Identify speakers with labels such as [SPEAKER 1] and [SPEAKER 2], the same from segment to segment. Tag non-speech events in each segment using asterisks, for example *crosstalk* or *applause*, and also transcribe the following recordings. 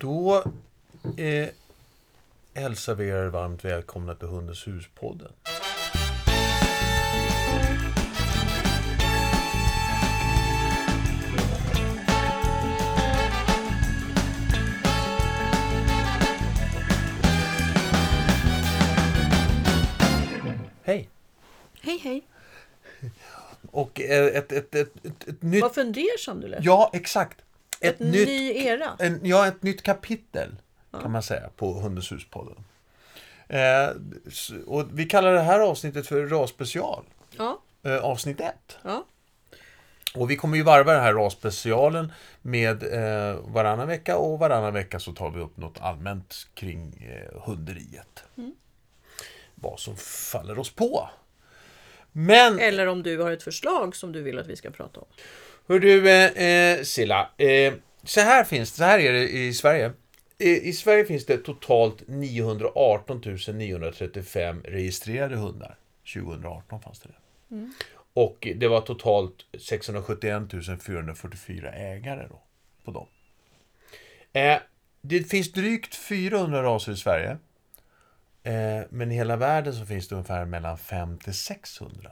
[SPEAKER 1] Då eh, hälsar vi er varmt välkomna till Hundens hus-podden. Hej!
[SPEAKER 2] Hej hej.
[SPEAKER 1] Och eh, ett, ett, ett, ett, ett nytt...
[SPEAKER 2] Vad fundersam du lät.
[SPEAKER 1] Ja, exakt! Ett,
[SPEAKER 2] Ett
[SPEAKER 1] nytt
[SPEAKER 2] ny era.
[SPEAKER 1] en, ja, ett nytt kapitel kan man säga på Hundens hus-podden. Eh, s- och vi kallar det här avsnittet för RAS-special,
[SPEAKER 2] Ja,
[SPEAKER 1] eh, avsnitt 1.
[SPEAKER 2] ja.
[SPEAKER 1] Och vi kommer ju varva den här RAS-specialen med eh, varannan vecka och varannan vecka så tar vi upp något allmänt kring eh, hunderiet. Vad som faller oss på. Men
[SPEAKER 2] Eller om du har ett förslag som du vill att vi ska prata om.
[SPEAKER 1] Hör du, eh, eh, Silla. Eh, så här finns så här är det i Sverige. I, I Sverige finns det totalt 918 935 registrerade hundar. 2018 fanns det det. Och det var totalt 671 444 ägare då, på dem. Eh, det finns drygt 400 raser i Sverige. Eh, men i hela världen så finns det ungefär mellan 500 till 600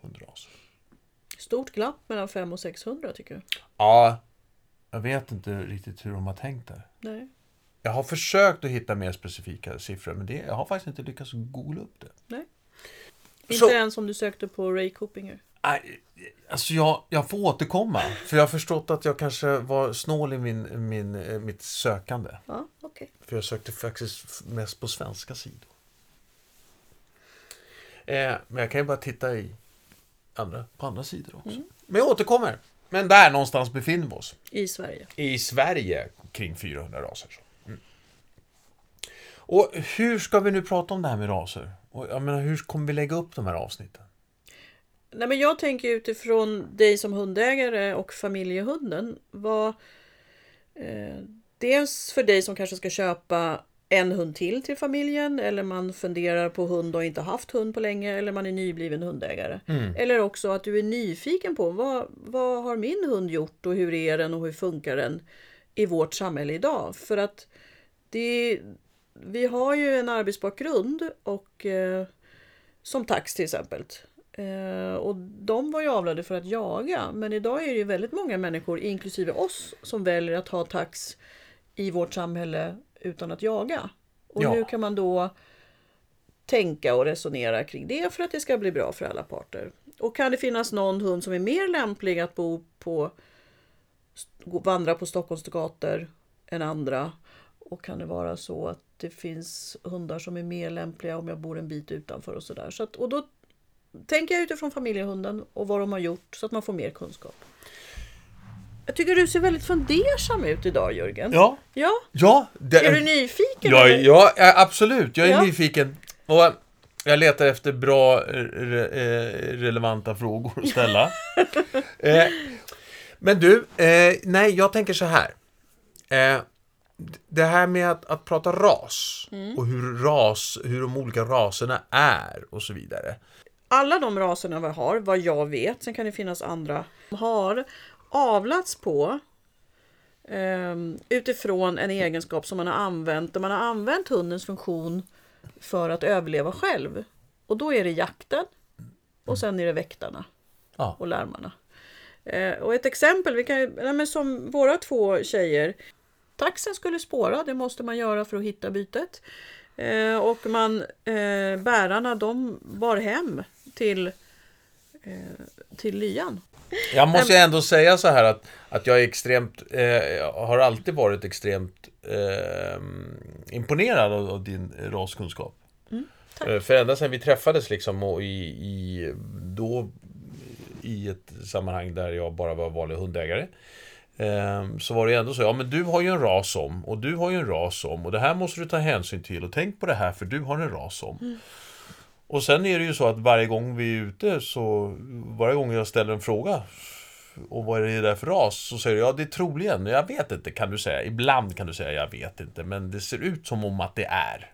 [SPEAKER 1] hundraser.
[SPEAKER 2] Stort glapp mellan 500 och 600 tycker jag.
[SPEAKER 1] Ja, jag vet inte riktigt hur de har tänkt där.
[SPEAKER 2] Nej.
[SPEAKER 1] Jag har försökt att hitta mer specifika siffror, men det, jag har faktiskt inte lyckats googla upp det.
[SPEAKER 2] Nej.
[SPEAKER 1] Så-
[SPEAKER 2] Inte ens om du sökte på Ray Coopinger.
[SPEAKER 1] Nej, Alltså jag, jag får återkomma, för jag har förstått att jag kanske var snål i min, min, eh, mitt sökande.
[SPEAKER 2] Ja, okej.
[SPEAKER 1] För jag sökte faktiskt f- mest på svenska sidor. Eh, men jag kan ju bara titta i andra, på andra sidor också. Men jag återkommer. Men där någonstans befinner vi oss.
[SPEAKER 2] I Sverige.
[SPEAKER 1] i Sverige kring 400 raser. Mm. Och hur ska vi nu prata om det här med raser? Och jag menar, hur kommer vi lägga upp de här avsnitten?
[SPEAKER 2] Nej, men jag tänker utifrån dig som hundägare och familjehunden. Vad, eh, dels för dig som kanske ska köpa en hund till till familjen eller man funderar på hund och inte haft hund på länge eller man är nybliven hundägare. Eller också att du är nyfiken på vad, vad har min hund gjort och hur är den och hur funkar den i vårt samhälle idag? För att det, vi har ju en arbetsbakgrund och eh, som tax till exempel. Eh, och de var ju avlade för att jaga men idag är det ju väldigt många människor, inklusive oss, som väljer att ha tax i vårt samhälle utan att jaga. Och
[SPEAKER 1] Ja.
[SPEAKER 2] hur kan man då tänka och resonera kring det för att det ska bli bra för alla parter? Och kan det finnas någon hund som är mer lämplig att bo på gå- vandra på Stockholms gator än andra. Och kan det vara så att det finns hundar som är mer lämpliga om jag bor en bit utanför och sådär. Så att, och då tänker jag utifrån familjehunden och vad de har gjort så att man får mer kunskap. Jag tycker du ser väldigt fundersam ut idag Jörgen.
[SPEAKER 1] Ja,
[SPEAKER 2] Ja,
[SPEAKER 1] ja, det,
[SPEAKER 2] är du nyfiken?
[SPEAKER 1] ja,
[SPEAKER 2] eller?
[SPEAKER 1] ja ja, absolut. Jag är
[SPEAKER 2] Ja.
[SPEAKER 1] nyfiken. Och jag letar efter bra, eh, re, eh, relevanta frågor att
[SPEAKER 2] *laughs*
[SPEAKER 1] ställa. eh, men du, eh, nej, jag tänker så här. Eh, d- det här med att, att prata ras
[SPEAKER 2] Mm.
[SPEAKER 1] och hur, ras, hur de olika raserna är och så vidare.
[SPEAKER 2] alla de raserna vi har, vad jag vet, sen kan det finnas andra, har avlats på ehm, utifrån en egenskap som man har använt, där man har använt hundens funktion för att överleva själv. Och då är det jakten och sen är det väktarna
[SPEAKER 1] Ja.
[SPEAKER 2] och larmarna. Eh, och ett exempel, vi kan, ju- nej, men som våra två tjejer, taxen skulle spåra, det måste man göra för att hitta bytet. Eh, och man, eh, bärarna de bar hem till, eh, till lyan.
[SPEAKER 1] Jag måste ju ändå säga så här att, att jag är extremt, eh, jag har alltid varit extremt eh, imponerad av, av din raskunskap.
[SPEAKER 2] tack.
[SPEAKER 1] Eh, För ända sedan vi träffades liksom och i, i, då i ett sammanhang där jag bara var vanlig hundägare. eh, Så var det ju ändå så, ja men du har ju en ras om och du har ju en ras om och det här måste du ta hänsyn till och tänk på det här för du har en ras om. Och sen är det ju så att varje gång vi är ute så varje gång jag ställer en fråga och vad är det där för ras? Så säger du, ja det är troligen, jag vet inte kan du säga. Ibland kan du säga, jag vet inte, men det ser ut som om att det är.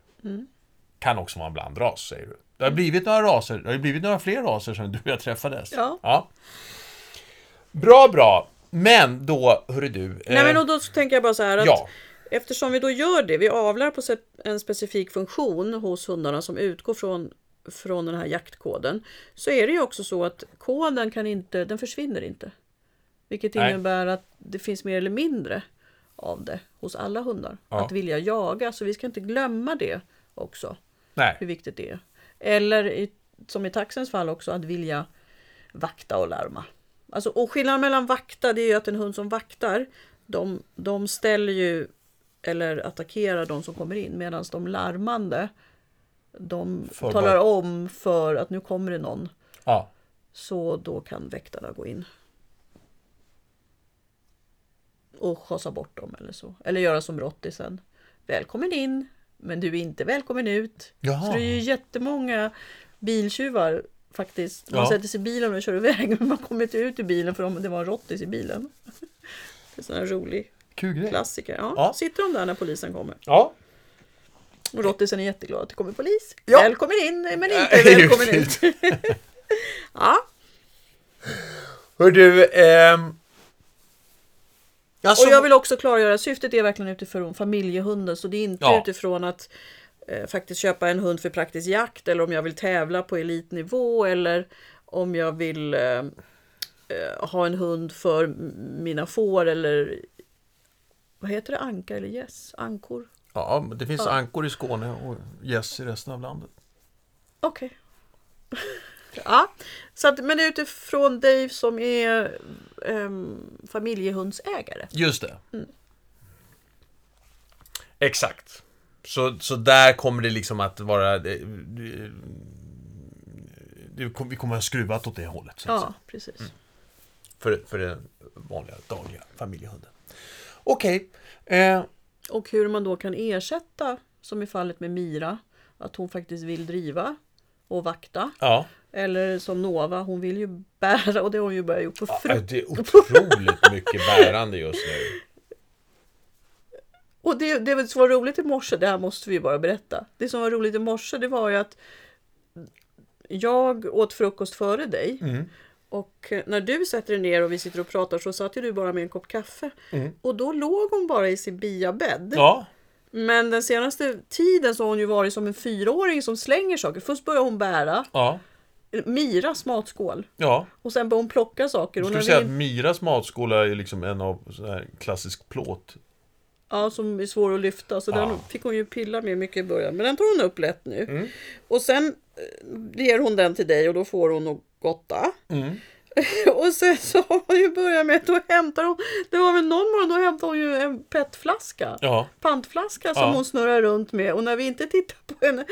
[SPEAKER 1] Kan också vara en blandras, säger du. Det har blivit några raser, det har ju blivit några fler raser sedan du och jag träffades.
[SPEAKER 2] Ja.
[SPEAKER 1] Bra, bra. Men då, hörru du.
[SPEAKER 2] Nej,
[SPEAKER 1] eh,
[SPEAKER 2] men och då så tänker jag bara så här att
[SPEAKER 1] ja.
[SPEAKER 2] eftersom vi då gör det, vi avlar på se- en specifik funktion hos hundarna som utgår från, från den här jaktkoden, så är det ju också så att koden kan inte, den försvinner inte. Vilket
[SPEAKER 1] Nej.
[SPEAKER 2] innebär att det finns mer eller mindre av det hos alla hundar.
[SPEAKER 1] Ja.
[SPEAKER 2] Att vilja jaga, så vi ska inte glömma det också
[SPEAKER 1] Nej,
[SPEAKER 2] hur viktigt det är. Eller i, som i taxens fall också att vilja vakta och larma. Alltså, och skillnaden mellan vakta det är ju att en hund som vaktar de, de ställer ju eller attackerar de som kommer in medan de larmande de
[SPEAKER 1] För
[SPEAKER 2] talar om för att nu kommer det någon
[SPEAKER 1] ja.
[SPEAKER 2] så då kan väktarna gå in. Och schasa bort dem eller så. Eller göra som rottisen. Välkommen in, men du är inte välkommen ut.
[SPEAKER 1] Jaha.
[SPEAKER 2] Så det är ju jättemånga biltjuvar faktiskt. Man
[SPEAKER 1] Ja.
[SPEAKER 2] sätter sig i bilen och kör iväg, *laughs* men man kommer inte ut ur bilen för om det var en rottis i bilen. Det är en sån här rolig
[SPEAKER 1] Kul grej.
[SPEAKER 2] klassiker. Ja,
[SPEAKER 1] Ja.
[SPEAKER 2] Sitter de där när polisen kommer.
[SPEAKER 1] Ja.
[SPEAKER 2] Och rottisen är jätteglad att det kommer polis.
[SPEAKER 1] Ja.
[SPEAKER 2] Välkommen in,
[SPEAKER 1] *laughs*
[SPEAKER 2] men inte välkommen ut. Ja.
[SPEAKER 1] Hör du, ehm... Alltså,
[SPEAKER 2] Och jag vill också klargöra, syftet är verkligen utifrån familjehunden, så det är inte
[SPEAKER 1] Ja.
[SPEAKER 2] utifrån att eh, faktiskt köpa en hund för praktisk jakt eller om jag vill tävla på elitnivå eller om jag vill eh, eh, ha en hund för m- mina får eller vad heter det, anka eller gäss? Ankor?
[SPEAKER 1] Ja, men det finns ankor i Skåne och gäss i resten av landet.
[SPEAKER 2] Okej. *laughs* ja, så att, men det är utifrån dig som är ehm, familjehundsägare.
[SPEAKER 1] Just det.
[SPEAKER 2] Mm.
[SPEAKER 1] Exakt. Så, så där kommer det liksom att vara... Det, det, det, kom- vi kommer att ha skruvat åt det hållet. Så att säga.
[SPEAKER 2] Ja, precis.
[SPEAKER 1] För, för den vanliga dagliga familjehunden. Okej. Eh,
[SPEAKER 2] Och hur man då kan ersätta, som i fallet med Mira, att hon faktiskt vill driva och vakta.
[SPEAKER 1] ja.
[SPEAKER 2] Eller som Nova, hon vill ju bära och det har hon ju börjat gjort på
[SPEAKER 1] Ja,
[SPEAKER 2] fru.
[SPEAKER 1] Det är otroligt mycket bärande just nu.
[SPEAKER 2] Och det, det som var roligt i morse, det här måste vi ju bara berätta. Det som var roligt i morse, det var ju att jag åt frukost före dig.
[SPEAKER 1] Mm.
[SPEAKER 2] Och när du sätter dig ner och vi sitter och pratar så satt ju du bara med en kopp kaffe. Och då låg hon bara i sin biabädd.
[SPEAKER 1] Ja.
[SPEAKER 2] Men den senaste tiden så har hon ju varit som en fyraåring som slänger saker. Först börjar hon bära
[SPEAKER 1] Ja.
[SPEAKER 2] Miras matskål
[SPEAKER 1] Ja.
[SPEAKER 2] och sen börjar hon plocka saker. Och
[SPEAKER 1] Skulle
[SPEAKER 2] när
[SPEAKER 1] du säga
[SPEAKER 2] vi-
[SPEAKER 1] att Myras matskål är liksom en av sån här klassisk plåt?
[SPEAKER 2] Ja, som är svår att lyfta. Så den
[SPEAKER 1] Ja. Mm.
[SPEAKER 2] fick hon ju pilla med mycket i början. Men den tar hon upp lätt nu. Och sen eh, ger hon den till dig och då får hon något gotta. *laughs*
[SPEAKER 1] Mm.
[SPEAKER 2] och sen så har hon ju börjat med att då hämtar hon, det var väl någon morgon, då hämtade hon ju en petflaska.
[SPEAKER 1] Ja.
[SPEAKER 2] Pantflaska som
[SPEAKER 1] Ja.
[SPEAKER 2] hon snurrar runt med. Och när vi inte tittade på henne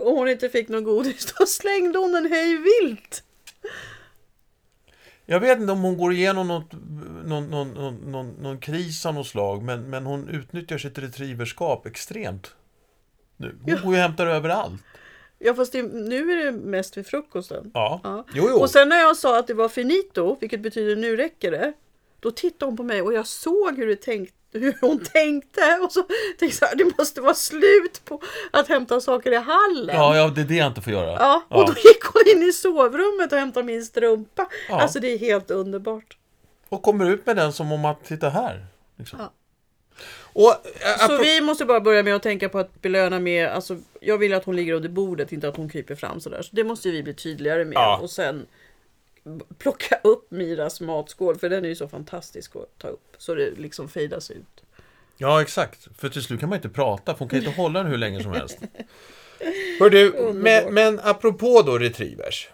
[SPEAKER 2] och hon inte fick någon godis, *laughs* då slängde hon den hej vilt.
[SPEAKER 1] Jag vet inte om hon går igenom något, någon, någon, någon, någon, någon kris av något slag, men, men hon utnyttjar sitt retrieverskap extremt. Nu. Hon går ju och hämtar överallt.
[SPEAKER 2] Ja, fast det, nu är det mest vid frukosten.
[SPEAKER 1] Ja.
[SPEAKER 2] Ja.
[SPEAKER 1] Jo, jo.
[SPEAKER 2] Och sen när jag sa att det var finito, vilket betyder nu räcker det, då tittade hon på mig och jag såg hur, det tänkt, hur hon tänkte och så tänkte jag så här, det måste vara slut på att hämta saker i hallen.
[SPEAKER 1] ja, ja, det är det jag inte får göra.
[SPEAKER 2] Ja, och då gick hon in i sovrummet och hämtade min strumpa.
[SPEAKER 1] Ja.
[SPEAKER 2] Alltså det är helt underbart.
[SPEAKER 1] Och kommer ut med den som om att, titta här. Liksom.
[SPEAKER 2] Ja.
[SPEAKER 1] Och, äh,
[SPEAKER 2] Så vi måste bara börja med att tänka på att belöna med, alltså jag vill att hon ligger under bordet, inte att hon kryper fram sådär. Så det måste vi bli tydligare med
[SPEAKER 1] Ja.
[SPEAKER 2] och sen plocka upp Miras matskål, för den är ju så fantastisk att ta upp. Så det liksom fejdas ut.
[SPEAKER 1] Ja, exakt. För till slut kan man inte prata, för hon kan inte hålla den hur länge som helst. Hör du, men, men apropå då retrievers.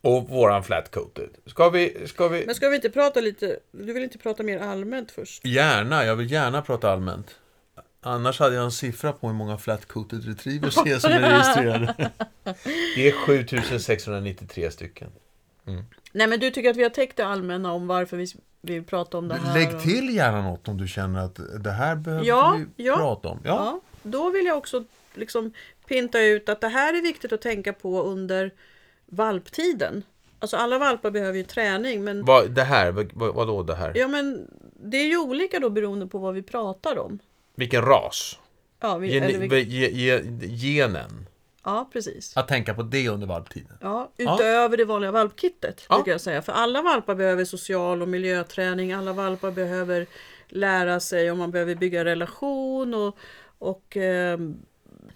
[SPEAKER 1] Och våran flat-coated. Ska vi, ska vi...
[SPEAKER 2] Men ska vi inte prata lite, du vill inte prata mer allmänt först?
[SPEAKER 1] Gärna, jag vill gärna prata allmänt. Annars hade jag en siffra på hur många flat-coated retrievers det är som är registrerade. Det är 7693 stycken.
[SPEAKER 2] Nej men du tycker att vi har täckt det allmänna om varför vi vill prata om det här?
[SPEAKER 1] Lägg
[SPEAKER 2] och-
[SPEAKER 1] till gärna något om du känner att det här behöver
[SPEAKER 2] Ja,
[SPEAKER 1] vi
[SPEAKER 2] ja.
[SPEAKER 1] prata om. Ja,
[SPEAKER 2] Ja, då vill jag också liksom pinta ut att det här är viktigt att tänka på under valptiden. Alltså alla valpar behöver ju träning men
[SPEAKER 1] Vad, det här, vad, vadå det här?
[SPEAKER 2] Ja men det är ju olika då beroende på vad vi pratar om.
[SPEAKER 1] Vilken ras?
[SPEAKER 2] Ja, vi, eller
[SPEAKER 1] Gen,
[SPEAKER 2] vi,
[SPEAKER 1] ge, ge, genen.
[SPEAKER 2] ja precis.
[SPEAKER 1] Att tänka på det under valptiden.
[SPEAKER 2] Ja, utöver det vanliga valpkittet, brukar jag säga. För alla valpar behöver social och miljöträning, alla valpar behöver lära sig om man behöver bygga relation och, och eh,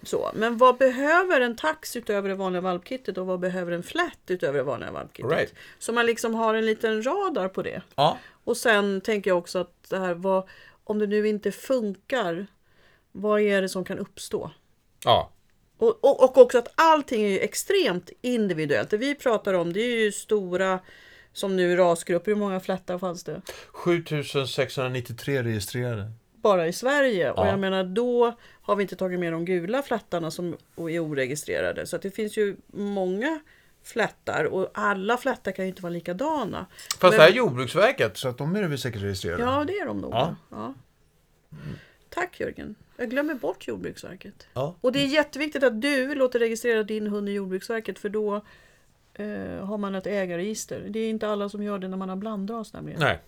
[SPEAKER 2] så. Men vad behöver en tax utöver det vanliga valpkittet och vad behöver en flat utöver det vanliga valpkittet?
[SPEAKER 1] Right.
[SPEAKER 2] Så man liksom har en liten radar på det.
[SPEAKER 1] Ja,
[SPEAKER 2] Och sen tänker jag också att det här, vad, om det nu inte funkar, vad är det som kan uppstå?
[SPEAKER 1] ja,
[SPEAKER 2] Och, och, och också att allting är ju extremt individuellt. Det vi pratar om det är ju stora, som nu rasgrupper, hur många flättar fanns det?
[SPEAKER 1] 7693 registrerade.
[SPEAKER 2] Bara i Sverige. Och
[SPEAKER 1] Ja.
[SPEAKER 2] jag menar då har vi inte tagit med de gula flättarna som är oregistrerade. Så att det finns ju många flättar och alla flättar kan ju inte vara likadana.
[SPEAKER 1] Fast det här är Jordbruksverket, så att de är väl säkert registrerade.
[SPEAKER 2] Ja, det är de nog.
[SPEAKER 1] Ja.
[SPEAKER 2] Ja. Tack Jörgen. Jag glömmer bort Jordbruksverket.
[SPEAKER 1] Ja.
[SPEAKER 2] Och det är jätteviktigt att du låter registrera din hund i Jordbruksverket för då eh, har man ett ägarregister. Det är inte alla som gör det när man har blandras nämligen. Nej,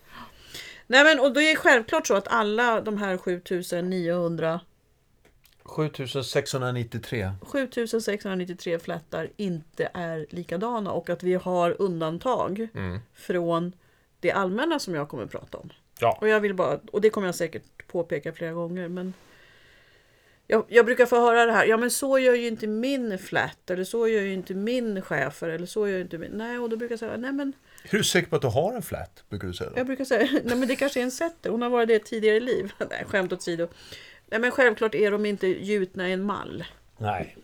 [SPEAKER 1] Nej.
[SPEAKER 2] men och då är det självklart så att alla de här 7900
[SPEAKER 1] 7693.
[SPEAKER 2] 7693 flättar inte är likadana och att vi har undantag
[SPEAKER 1] Mm.
[SPEAKER 2] från det allmänna som jag kommer att prata om.
[SPEAKER 1] Ja.
[SPEAKER 2] Och jag vill bara, och det kommer jag säkert påpeka flera gånger, men jag, jag brukar få höra det här, ja men så gör ju inte min flat, eller så gör ju inte min chefer, eller så gör ju inte min... Nej, och då brukar jag säga, nej men,
[SPEAKER 1] Är du säker på att du har en flat? Brukar du säga då?
[SPEAKER 2] jag brukar säga, *laughs* nej men det kanske är en setter, hon har varit det tidigare i liv. *laughs* nej, skämt åsido. Nej men självklart är de inte gjutna i en mall.
[SPEAKER 1] Nej.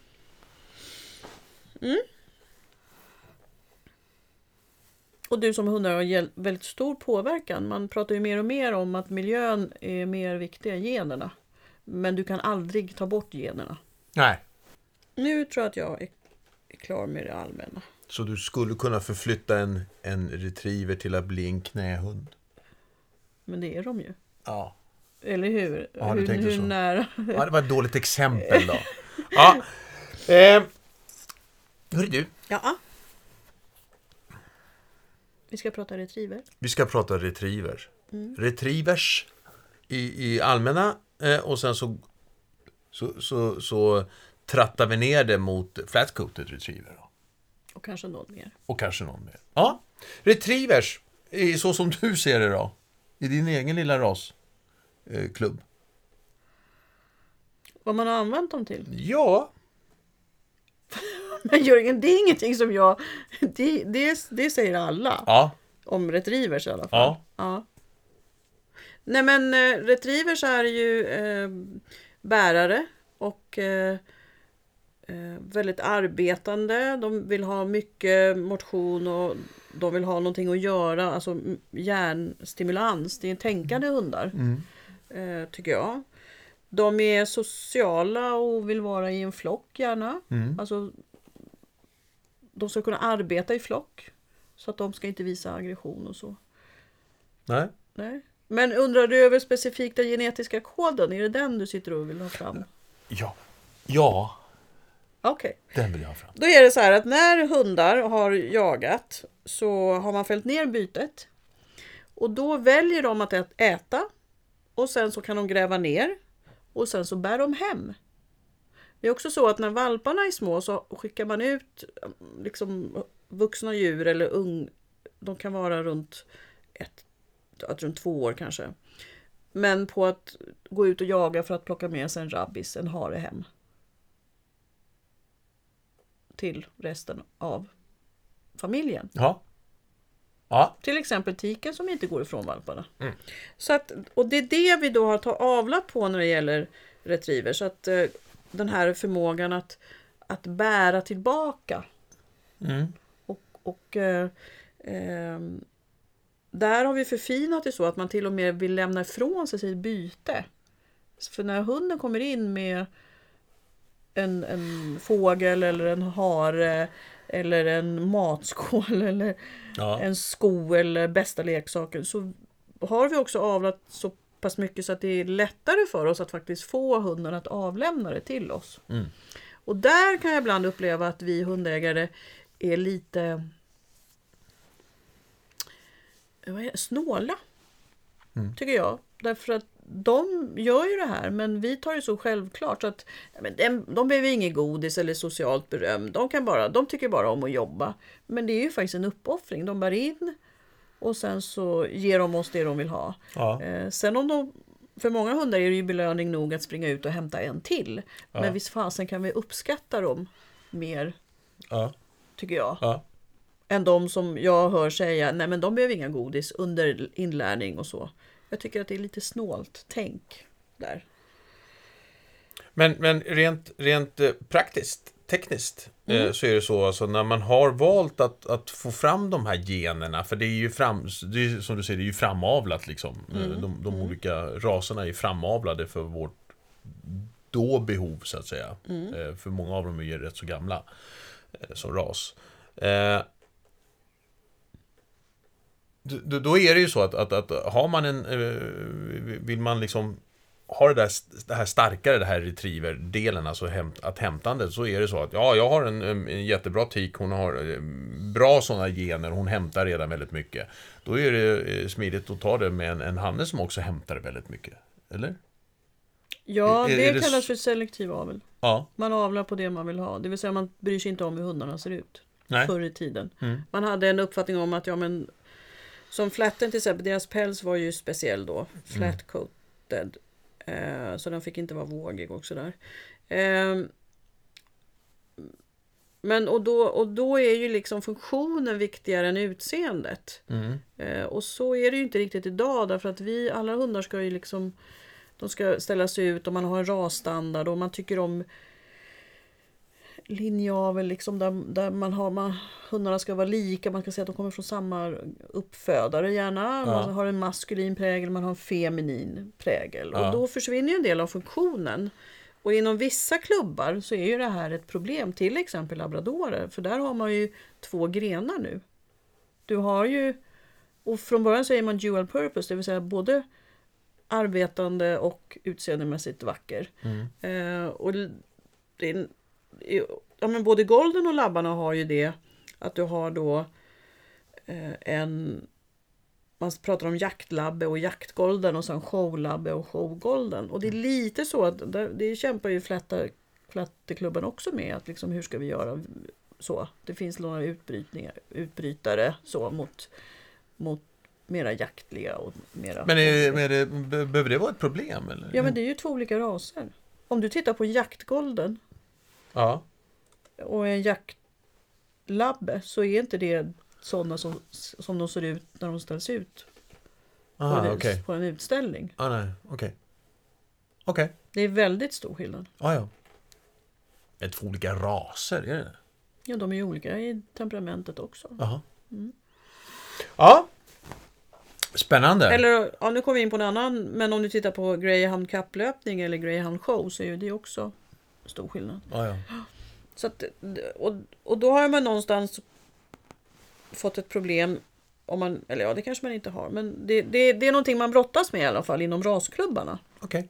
[SPEAKER 2] Och du som hundar har gäll- väldigt stor påverkan. Man pratar ju mer och mer om att miljön är mer viktig än generna. Men du kan aldrig ta bort generna.
[SPEAKER 1] Nej.
[SPEAKER 2] Nu tror jag att jag är- är klar med det allmänna.
[SPEAKER 1] Så du skulle kunna förflytta en, en retriever till att bli en knähund?
[SPEAKER 2] Men det är de ju.
[SPEAKER 1] Ja.
[SPEAKER 2] Eller hur?
[SPEAKER 1] Ja, du
[SPEAKER 2] hur
[SPEAKER 1] tänkte
[SPEAKER 2] hur
[SPEAKER 1] så.
[SPEAKER 2] nära?
[SPEAKER 1] ja det var ett dåligt exempel då. *laughs* Ja. Eh. Hörru du,
[SPEAKER 2] Ja. Vi ska prata retriever.
[SPEAKER 1] vi ska prata retriever. Retrievers i, i allmänna eh, och sen så, så, så, så trattar vi ner det mot flat-coated retriever. Då.
[SPEAKER 2] Och kanske något mer.
[SPEAKER 1] Och kanske någon mer. Ja. Retrievers, i- så som du ser det då. I din egen lilla eh, rasklubb.
[SPEAKER 2] Vad man har använt dem till.
[SPEAKER 1] Ja.
[SPEAKER 2] Men *laughs* Jörgen, det är ingenting som jag... Det, det, det säger alla.
[SPEAKER 1] Ja.
[SPEAKER 2] Om retrievers i alla fall.
[SPEAKER 1] Ja.
[SPEAKER 2] Ja. Nej men eh, retrievers är ju eh, bärare och eh, eh, väldigt arbetande. De vill ha mycket motion och de vill ha någonting att göra, alltså m- hjärnstimulans. Det är tänkande hundar, eh, tycker jag. De är sociala och vill vara i en flock gärna. Alltså, de ska kunna arbeta i flock. Så att de ska inte visa aggression och så.
[SPEAKER 1] Nej.
[SPEAKER 2] Nej. Men undrar du över specifikt den genetiska koden? Är det den du sitter och vill ha fram?
[SPEAKER 1] Ja. Ja.
[SPEAKER 2] Okej.
[SPEAKER 1] Den vill jag ha fram.
[SPEAKER 2] Då är det så här att när hundar har jagat så har man fällt ner bytet. Och då väljer de att ä- äta. Och sen så kan de gräva ner. Och sen så bär de hem. Det är också så att när valparna är små så skickar man ut eh, liksom, vuxna djur eller ung. De kan vara runt, ett, att runt två år kanske. Men på att gå ut och jaga för att plocka med sig en rabbis, en hare hem. Till resten av familjen.
[SPEAKER 1] Ja. Ja.
[SPEAKER 2] Till exempel tiken som inte går ifrån valparna. Så att, och det är det vi då har tagit avlat på när det gäller retriever. Så att eh, den här förmågan att, att bära tillbaka.
[SPEAKER 1] Mm.
[SPEAKER 2] Och, och eh, ehm, där har vi förfinat det så att man till och med vill lämna ifrån sig sitt byte. För när hunden kommer in med en, en fågel eller en hare eller en matskål *laughs* eller
[SPEAKER 1] Ja.
[SPEAKER 2] en sko eller bästa leksaken så har vi också avlat så pass mycket så att det är lättare för oss att faktiskt få hunden att avlämna det till oss.
[SPEAKER 1] Mm.
[SPEAKER 2] Och där kan jag ibland uppleva att vi hundägare är lite eh, vad är det? snåla. Tycker jag. Därför att de gör ju det här men vi tar det så självklart. Så att, ja, men de, de behöver inget godis eller socialt beröm. De, kan bara, de tycker bara om att jobba. Men det är ju faktiskt en uppoffring. De bär in Och sen så ger de oss det de vill ha.
[SPEAKER 1] Ja.
[SPEAKER 2] Eh, sen om de, för många hundar är det ju belöning nog att springa ut och hämta en till. Men visst fasen kan vi uppskatta dem mer,
[SPEAKER 1] Ja.
[SPEAKER 2] tycker jag.
[SPEAKER 1] Ja.
[SPEAKER 2] Än de som jag hör säga, nej men de behöver inga godis under inlärning och så. Jag tycker att det är lite snålt tänk där.
[SPEAKER 1] Men, men rent, rent eh, praktiskt, tekniskt, eh, så är det så alltså när man har valt att, att få fram de här generna, för det är ju fram, det är, ju, som du säger, det är ju framavlat liksom. Eh, De, de olika raserna är framavlade för vårt då behov så att säga. Eh, För många av dem är ju rätt så gamla eh, som ras. Eh, d- d- Då är det ju så att, att, att har man en, eh, vill man liksom har det, där, det här starkare, det här retriever-delen, alltså hämt, att hämtandet, så är det så att ja, jag har en, em, en jättebra tik, hon har eh, bra sådana gener, hon hämtar redan väldigt mycket. Då är det eh, smidigt att ta det med en, en hanne som också hämtar väldigt mycket. Eller?
[SPEAKER 2] Ja,
[SPEAKER 1] Är- är-
[SPEAKER 2] det
[SPEAKER 1] är det
[SPEAKER 2] kallas
[SPEAKER 1] s-
[SPEAKER 2] för selektiv avel.
[SPEAKER 1] Ja.
[SPEAKER 2] Man avlar på det man vill ha, det vill säga man bryr sig inte om hur hundarna ser ut.
[SPEAKER 1] Nej.
[SPEAKER 2] Förr i tiden.
[SPEAKER 1] Mm.
[SPEAKER 2] Man hade en uppfattning om att, ja men, som flätten till exempel, deras päls var ju speciell då,
[SPEAKER 1] Mm.
[SPEAKER 2] flat-coated. Eh, så den fick inte vara vågig och sådär. Eh, men och då, och då är ju liksom funktionen viktigare än utseendet.
[SPEAKER 1] Mm.
[SPEAKER 2] Eh, och så är det ju inte riktigt idag därför att vi, alla hundar ska ju liksom de ska ställas ut och man har en rasstandard och man tycker om linjavel liksom där, där man har, man, hundarna ska vara lika, man kan säga att de kommer från samma uppfödare gärna. Man
[SPEAKER 1] Ja.
[SPEAKER 2] har en maskulin prägel, man har en feminin prägel.
[SPEAKER 1] Ja.
[SPEAKER 2] Och då försvinner ju en del av funktionen. Och inom vissa klubbar så är ju det här ett problem, till exempel labradorer, för där har man ju två grenar nu. Du har ju, och från början säger man dual purpose, det vill säga både arbetande och utseendemässigt vacker.
[SPEAKER 1] Mm.
[SPEAKER 2] Eh, och l- det är, ja, men både golden och labbarna har ju det att du har då eh, en man pratar om jaktlabbe och jaktgolden och sen showlabbe och showgolden. Och det är
[SPEAKER 1] Mm.
[SPEAKER 2] lite så att där, det kämpar ju flättar, flätteklubben också med att liksom hur ska vi göra så. Det finns några utbrytningar, utbrytare så mot, mot mera jaktliga och mera...
[SPEAKER 1] Men är, men är det, be- behöver det vara ett problem? Eller?
[SPEAKER 2] Ja men det är ju två olika raser. Om du tittar på en jaktgolden
[SPEAKER 1] ja.
[SPEAKER 2] och en jaktlabbe så är inte det sådana som, som de ser ut när de ställs ut på,
[SPEAKER 1] Aha,
[SPEAKER 2] en,
[SPEAKER 1] okej.
[SPEAKER 2] ut- på en utställning.
[SPEAKER 1] Ah, nej, okej. Okej,
[SPEAKER 2] Det är väldigt stor skillnad.
[SPEAKER 1] ah, ja. Det är två olika raser, är det det?
[SPEAKER 2] Ja, de är ju olika i temperamentet också.
[SPEAKER 1] Jaha. Ja. Spännande.
[SPEAKER 2] Eller, ja, nu kommer vi in på en annan, men om du tittar på greyhound kapplöpning eller greyhound show så är ju det också stor skillnad.
[SPEAKER 1] Ah, ja.
[SPEAKER 2] Så att, och, och då har man någonstans fått ett problem, om man, eller ja det kanske man inte har, men det, det, det är någonting man brottas med i alla fall inom rasklubbarna.
[SPEAKER 1] Okej.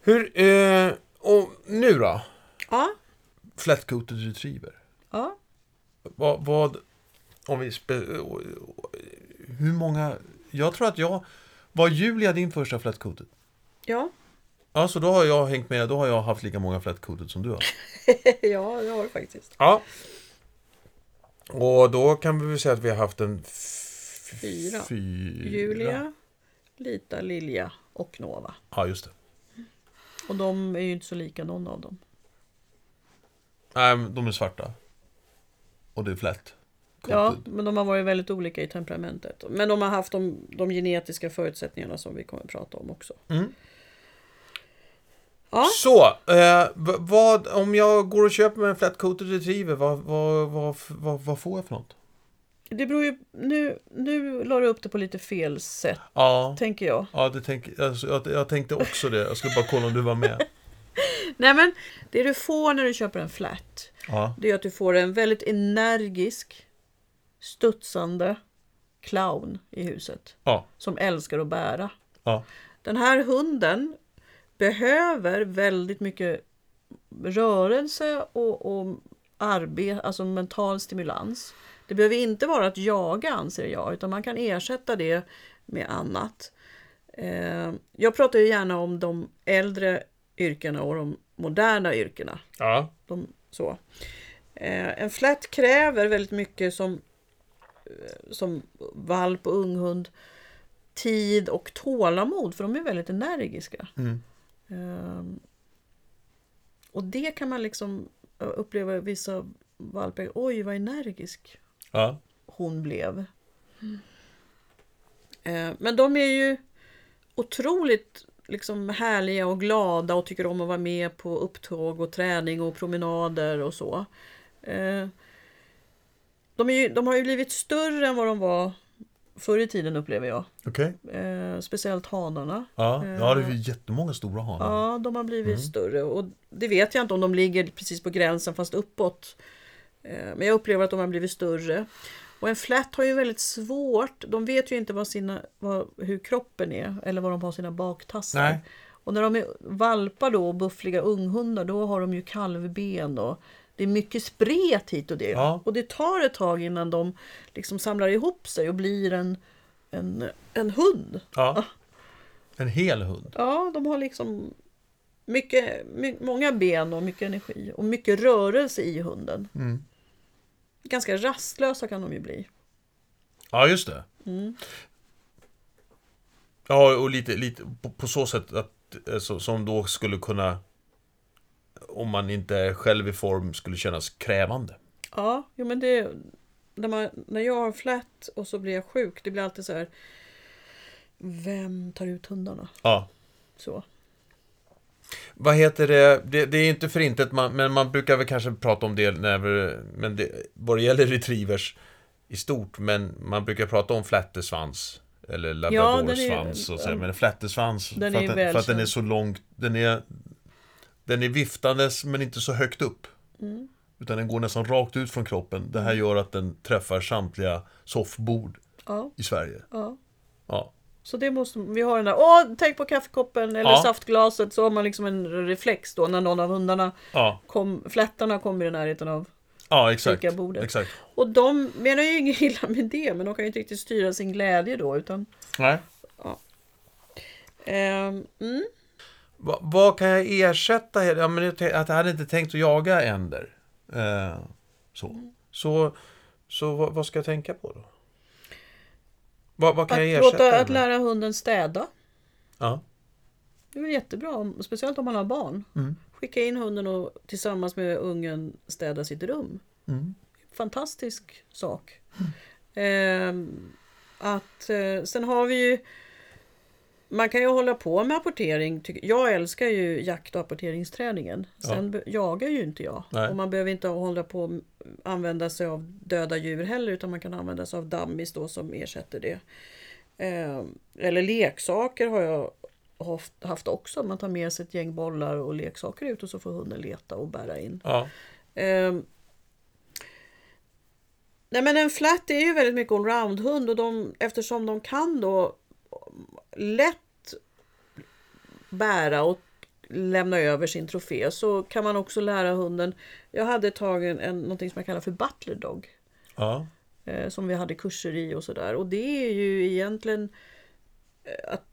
[SPEAKER 1] Hur, eh, och nu då?
[SPEAKER 2] Ja,
[SPEAKER 1] Flatcoated retriever.
[SPEAKER 2] ja.
[SPEAKER 1] Vad, vad om vi spe, hur många, jag tror att jag, var Julia din första flatcoated?
[SPEAKER 2] Ja, *laughs*
[SPEAKER 1] Ja, så då har jag hängt med, då har jag haft lika många flatcoated som du har.
[SPEAKER 2] ja, det har du faktiskt.
[SPEAKER 1] Ja. Och då kan vi väl säga att vi har haft en f-
[SPEAKER 2] Fyra.
[SPEAKER 1] fyra.
[SPEAKER 2] Julia, Lita, Lilja och Nova.
[SPEAKER 1] Ja, just det.
[SPEAKER 2] Och de är ju inte så lika någon av dem.
[SPEAKER 1] Nej, men de är svarta. Och det är flat.
[SPEAKER 2] Ja,
[SPEAKER 1] coated.
[SPEAKER 2] men de har varit väldigt olika i temperamentet. Men de har haft de, de genetiska förutsättningarna som vi kommer att prata om också.
[SPEAKER 1] Mm.
[SPEAKER 2] Ja,
[SPEAKER 1] Så, eh, v- vad, om jag går och köper mig en flat-coated retriever, vad, vad, vad, vad, vad får jag för något?
[SPEAKER 2] det beror ju... Nu, nu la du upp det på lite fel sätt,
[SPEAKER 1] Ja,
[SPEAKER 2] tänker jag.
[SPEAKER 1] ja det tänk, alltså, jag, jag tänkte också det. Jag skulle bara kolla om du var
[SPEAKER 2] *laughs*
[SPEAKER 1] med.
[SPEAKER 2] Nej, men det du får när du köper en flat,
[SPEAKER 1] Ja,
[SPEAKER 2] det är att du får en väldigt energisk, studsande clown i huset.
[SPEAKER 1] ja,
[SPEAKER 2] Som älskar att bära.
[SPEAKER 1] ja.
[SPEAKER 2] Den här hunden behöver väldigt mycket rörelse och, och arbete, alltså mental stimulans. Det behöver inte vara att jaga anser jag, utan man kan ersätta det med annat. Eh, jag pratar ju gärna om de äldre yrkena och de moderna yrkena.
[SPEAKER 1] ja.
[SPEAKER 2] De, så. Eh, en flat kräver väldigt mycket som eh, som valp och unghund tid och tålamod för de är väldigt energiska.
[SPEAKER 1] Mm.
[SPEAKER 2] Ehm, och det kan man liksom eh, uppleva i vissa valpar. Oj vad energisk
[SPEAKER 1] Ja.
[SPEAKER 2] hon blev. Eh, Men de är ju otroligt liksom härliga och glada och tycker om att vara med på upptåg och träning och promenader och så. Eh, De, är ju, de har ju blivit större än vad de var förr i tiden upplever jag.
[SPEAKER 1] Okej.
[SPEAKER 2] Eh, Speciellt hanarna.
[SPEAKER 1] Ja. ja, det är ju jättemånga stora hanar.
[SPEAKER 2] Ja, de har
[SPEAKER 1] Mm.
[SPEAKER 2] blivit större och det vet jag inte om de ligger precis på gränsen fast uppåt. Eh, Men jag upplever att de har blivit större. Och en flat har ju väldigt svårt, de vet ju inte vad sina, vad, hur kroppen är eller vad de har sina baktassar.
[SPEAKER 1] Nej.
[SPEAKER 2] Och när de är valpar då och buffliga unghundar då har de ju kalvben då. Det är mycket spret hit och det.
[SPEAKER 1] Ja.
[SPEAKER 2] Och det tar ett tag innan de liksom samlar ihop sig och blir en, en, en hund.
[SPEAKER 1] Ja. En hel hund.
[SPEAKER 2] Ja, de har liksom mycket, my, många ben och mycket energi och mycket rörelse i hunden.
[SPEAKER 1] Mm.
[SPEAKER 2] Ganska rastlösa kan de ju bli.
[SPEAKER 1] Ja, just det. Ja, och lite, lite på, på så sätt att eh, så, som då skulle kunna om man inte är själv i form skulle kännas krävande.
[SPEAKER 2] Ja, jo, men det... När, man, när jag har flätt och så blir jag sjuk, det blir alltid så här... Vem tar ut hundarna?
[SPEAKER 1] Ja.
[SPEAKER 2] Så.
[SPEAKER 1] Vad heter det? det? Det är inte för intet, man, men man brukar väl kanske prata om det när vi, men det, vad det gäller retrievers i stort, men man brukar prata om flättesvans eller labradorsvans
[SPEAKER 2] den är-
[SPEAKER 1] och så, här, men flättesvans
[SPEAKER 2] Den
[SPEAKER 1] för,
[SPEAKER 2] är
[SPEAKER 1] att den, för att den är
[SPEAKER 2] välkänd.
[SPEAKER 1] så långt, den är den är viftandes men inte så högt upp.
[SPEAKER 2] Mm.
[SPEAKER 1] Utan den går nästan rakt ut från kroppen. Det här gör att den träffar samtliga soffbord
[SPEAKER 2] Ja,
[SPEAKER 1] i Sverige.
[SPEAKER 2] ja.
[SPEAKER 1] Ja.
[SPEAKER 2] Så det måste vi har den där, åh, tänk på kaffekoppen eller
[SPEAKER 1] Ja.
[SPEAKER 2] saftglaset, så har man liksom en reflex då när någon av hundarna,
[SPEAKER 1] Ja,
[SPEAKER 2] kom, flättarna kommer i närheten av
[SPEAKER 1] ja exakt.
[SPEAKER 2] Fikabordet.
[SPEAKER 1] exakt.
[SPEAKER 2] Och de menar ju inget *laughs* illa med det, men de kan ju inte riktigt styra sin glädje då. Utan,
[SPEAKER 1] Nej.
[SPEAKER 2] ehm, mm,
[SPEAKER 1] Va, vad kan jag ersätta? hela- Ja, men jag, tänk- att jag hade inte tänkt att jaga änder. Eh,
[SPEAKER 2] Mm.
[SPEAKER 1] så så, så vad, vad ska jag tänka på då? Vad, vad kan jag
[SPEAKER 2] att,
[SPEAKER 1] ersätta? det
[SPEAKER 2] låta,
[SPEAKER 1] med?
[SPEAKER 2] att lära hunden städa.
[SPEAKER 1] Ja.
[SPEAKER 2] Det är väl jättebra, om- speciellt om man har barn.
[SPEAKER 1] Mm.
[SPEAKER 2] Skicka in hunden och tillsammans med ungen städa sitt rum.
[SPEAKER 1] Mm.
[SPEAKER 2] fantastisk sak. Ehm, att, eh, sen har vi ju man kan ju hålla på med apportering. tycker- Jag älskar ju jakt och apporteringsträningen. Sen be- jagar ju inte jag.
[SPEAKER 1] Nej.
[SPEAKER 2] Och man behöver inte hålla på och använda sig av döda djur heller utan man kan använda sig av dummies då som ersätter det. Ehm, eller leksaker har jag haft- haft också. Man tar med sig ett gäng bollar och leksaker ut och så får hunden leta och bära in.
[SPEAKER 1] Ja.
[SPEAKER 2] Ehm. Nej men en flat är ju väldigt mycket allroundhund och de, eftersom de kan då lätt bära och lämna över sin trofé så kan man också lära hunden. Jag hade ett tag en, en, någonting som jag kallar för butler dog
[SPEAKER 1] Ja.
[SPEAKER 2] eh, som vi hade kurser i och sådär. Och det är ju egentligen eh, att,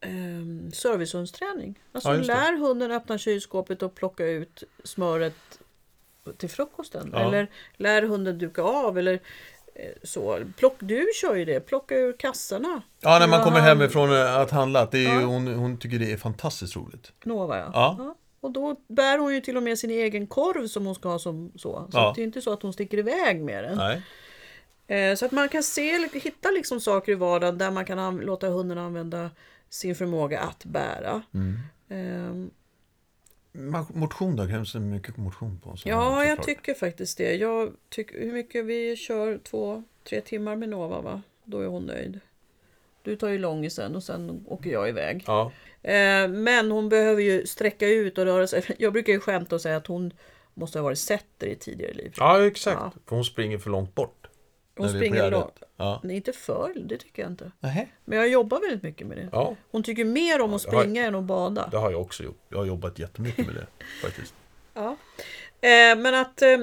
[SPEAKER 2] ehm, servicehundsträning. Alltså
[SPEAKER 1] Ja, just det.
[SPEAKER 2] lär hunden öppna kylskåpet och plocka ut smöret till frukosten.
[SPEAKER 1] Ja.
[SPEAKER 2] Eller lär hunden duka av. Eller eh, så. Plock, du kör ju det, plocka ur kassarna.
[SPEAKER 1] ja, när man
[SPEAKER 2] Ja,
[SPEAKER 1] kommer
[SPEAKER 2] han-
[SPEAKER 1] hemifrån eh, att handla. Det är ju,
[SPEAKER 2] Ja.
[SPEAKER 1] hon, hon tycker det är fantastiskt roligt.
[SPEAKER 2] Nova ja.
[SPEAKER 1] Ja.
[SPEAKER 2] Och då bär hon ju till och med sin egen korv som hon ska ha som så. Så
[SPEAKER 1] Ja.
[SPEAKER 2] att det är inte så att hon sticker iväg med den.
[SPEAKER 1] Nej.
[SPEAKER 2] Eh, Så att man kan se, hitta liksom saker i vardagen där man kan an- låta hunden använda sin förmåga att bära.
[SPEAKER 1] Mm.
[SPEAKER 2] Ehm,
[SPEAKER 1] Man- Motion då? Krävs det mycket motion på en sån här,
[SPEAKER 2] Ja, jag
[SPEAKER 1] såklart?
[SPEAKER 2] tycker faktiskt det. Jag tycker, hur mycket vi kör? Två, tre timmar med Nova va? Då är hon nöjd. Du tar ju långisen och sen åker jag iväg.
[SPEAKER 1] Ja.
[SPEAKER 2] Eh, Men hon behöver ju sträcka ut och röra sig. *laughs* Jag brukar ju skämta och säga att hon måste ha varit setter i tidigare liv.
[SPEAKER 1] ja, exakt. För hon springer för långt bort.
[SPEAKER 2] Hon
[SPEAKER 1] När vi är på
[SPEAKER 2] springer
[SPEAKER 1] Gärdet.
[SPEAKER 2] långt.
[SPEAKER 1] Ja.
[SPEAKER 2] Nej, inte för, det tycker jag inte.
[SPEAKER 1] Nähä.
[SPEAKER 2] Men jag jobbar väldigt mycket med det.
[SPEAKER 1] Ja,
[SPEAKER 2] Hon tycker mer om att
[SPEAKER 1] det har-
[SPEAKER 2] springa än att bada.
[SPEAKER 1] det har jag också gjort. Jag har jobbat jättemycket
[SPEAKER 2] *laughs*
[SPEAKER 1] med det faktiskt.
[SPEAKER 2] Ja. Eh, men att eh,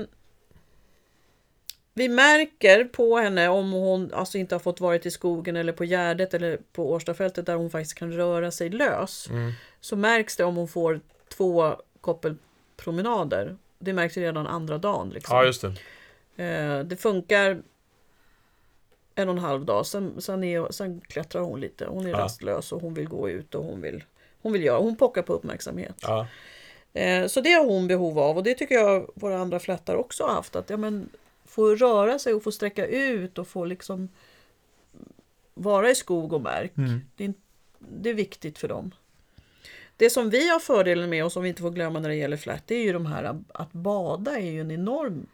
[SPEAKER 2] vi märker på henne om hon alltså inte har fått varit i skogen eller på Gärdet eller på Årstafältet där hon faktiskt kan röra sig lös. Mm.
[SPEAKER 1] Mm.
[SPEAKER 2] Så märks det om hon får två koppelpromenader. Det märks ju redan andra dagen. Liksom.
[SPEAKER 1] Ja, just det.
[SPEAKER 2] Eh, det funkar en och en halv dag. Sen, sen, är, sen klättrar hon lite. Hon är
[SPEAKER 1] Ja.
[SPEAKER 2] rastlös och hon vill gå ut och hon vill, hon vill göra. Hon pockar på uppmärksamhet.
[SPEAKER 1] Ja.
[SPEAKER 2] Eh, Så det har hon behov av och det tycker jag våra andra flättar också har haft. Att ja, men, få röra sig och få sträcka ut och få liksom vara i skog och mark.
[SPEAKER 1] Mm.
[SPEAKER 3] Mm.
[SPEAKER 2] Det, är, in- det är viktigt för dem. Det som vi har fördelen med och som vi inte får glömma när det gäller flätt, det är ju de här att bada är ju en enorm...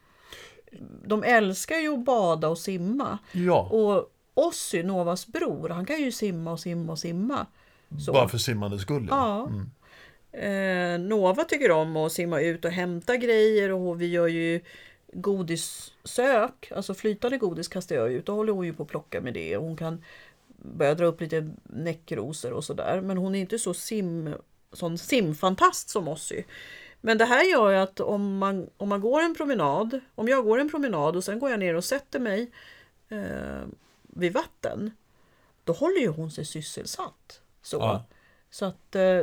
[SPEAKER 2] De älskar ju att bada och simma.
[SPEAKER 1] ja.
[SPEAKER 2] Och Ossi, Novas bror, han kan ju simma och simma och simma.
[SPEAKER 1] Mm.
[SPEAKER 2] Så.
[SPEAKER 3] Bara för simmandes skull.
[SPEAKER 2] Ja. Eh, Nova tycker om att simma ut och hämta grejer och vi gör ju godissök, alltså flytande godis kastar jag ut. Då håller hon ju på att plocka med det. Hon kan börja dra upp lite näckrosor och sådär. Men hon är inte så sim, sån simfantast som Ossi. Men det här gör ju att om man, om man går en promenad, om jag går en promenad och sen går jag ner och sätter mig eh, vid vatten, då håller ju hon sig sysselsatt. Så.
[SPEAKER 1] Ja.
[SPEAKER 2] Så att eh,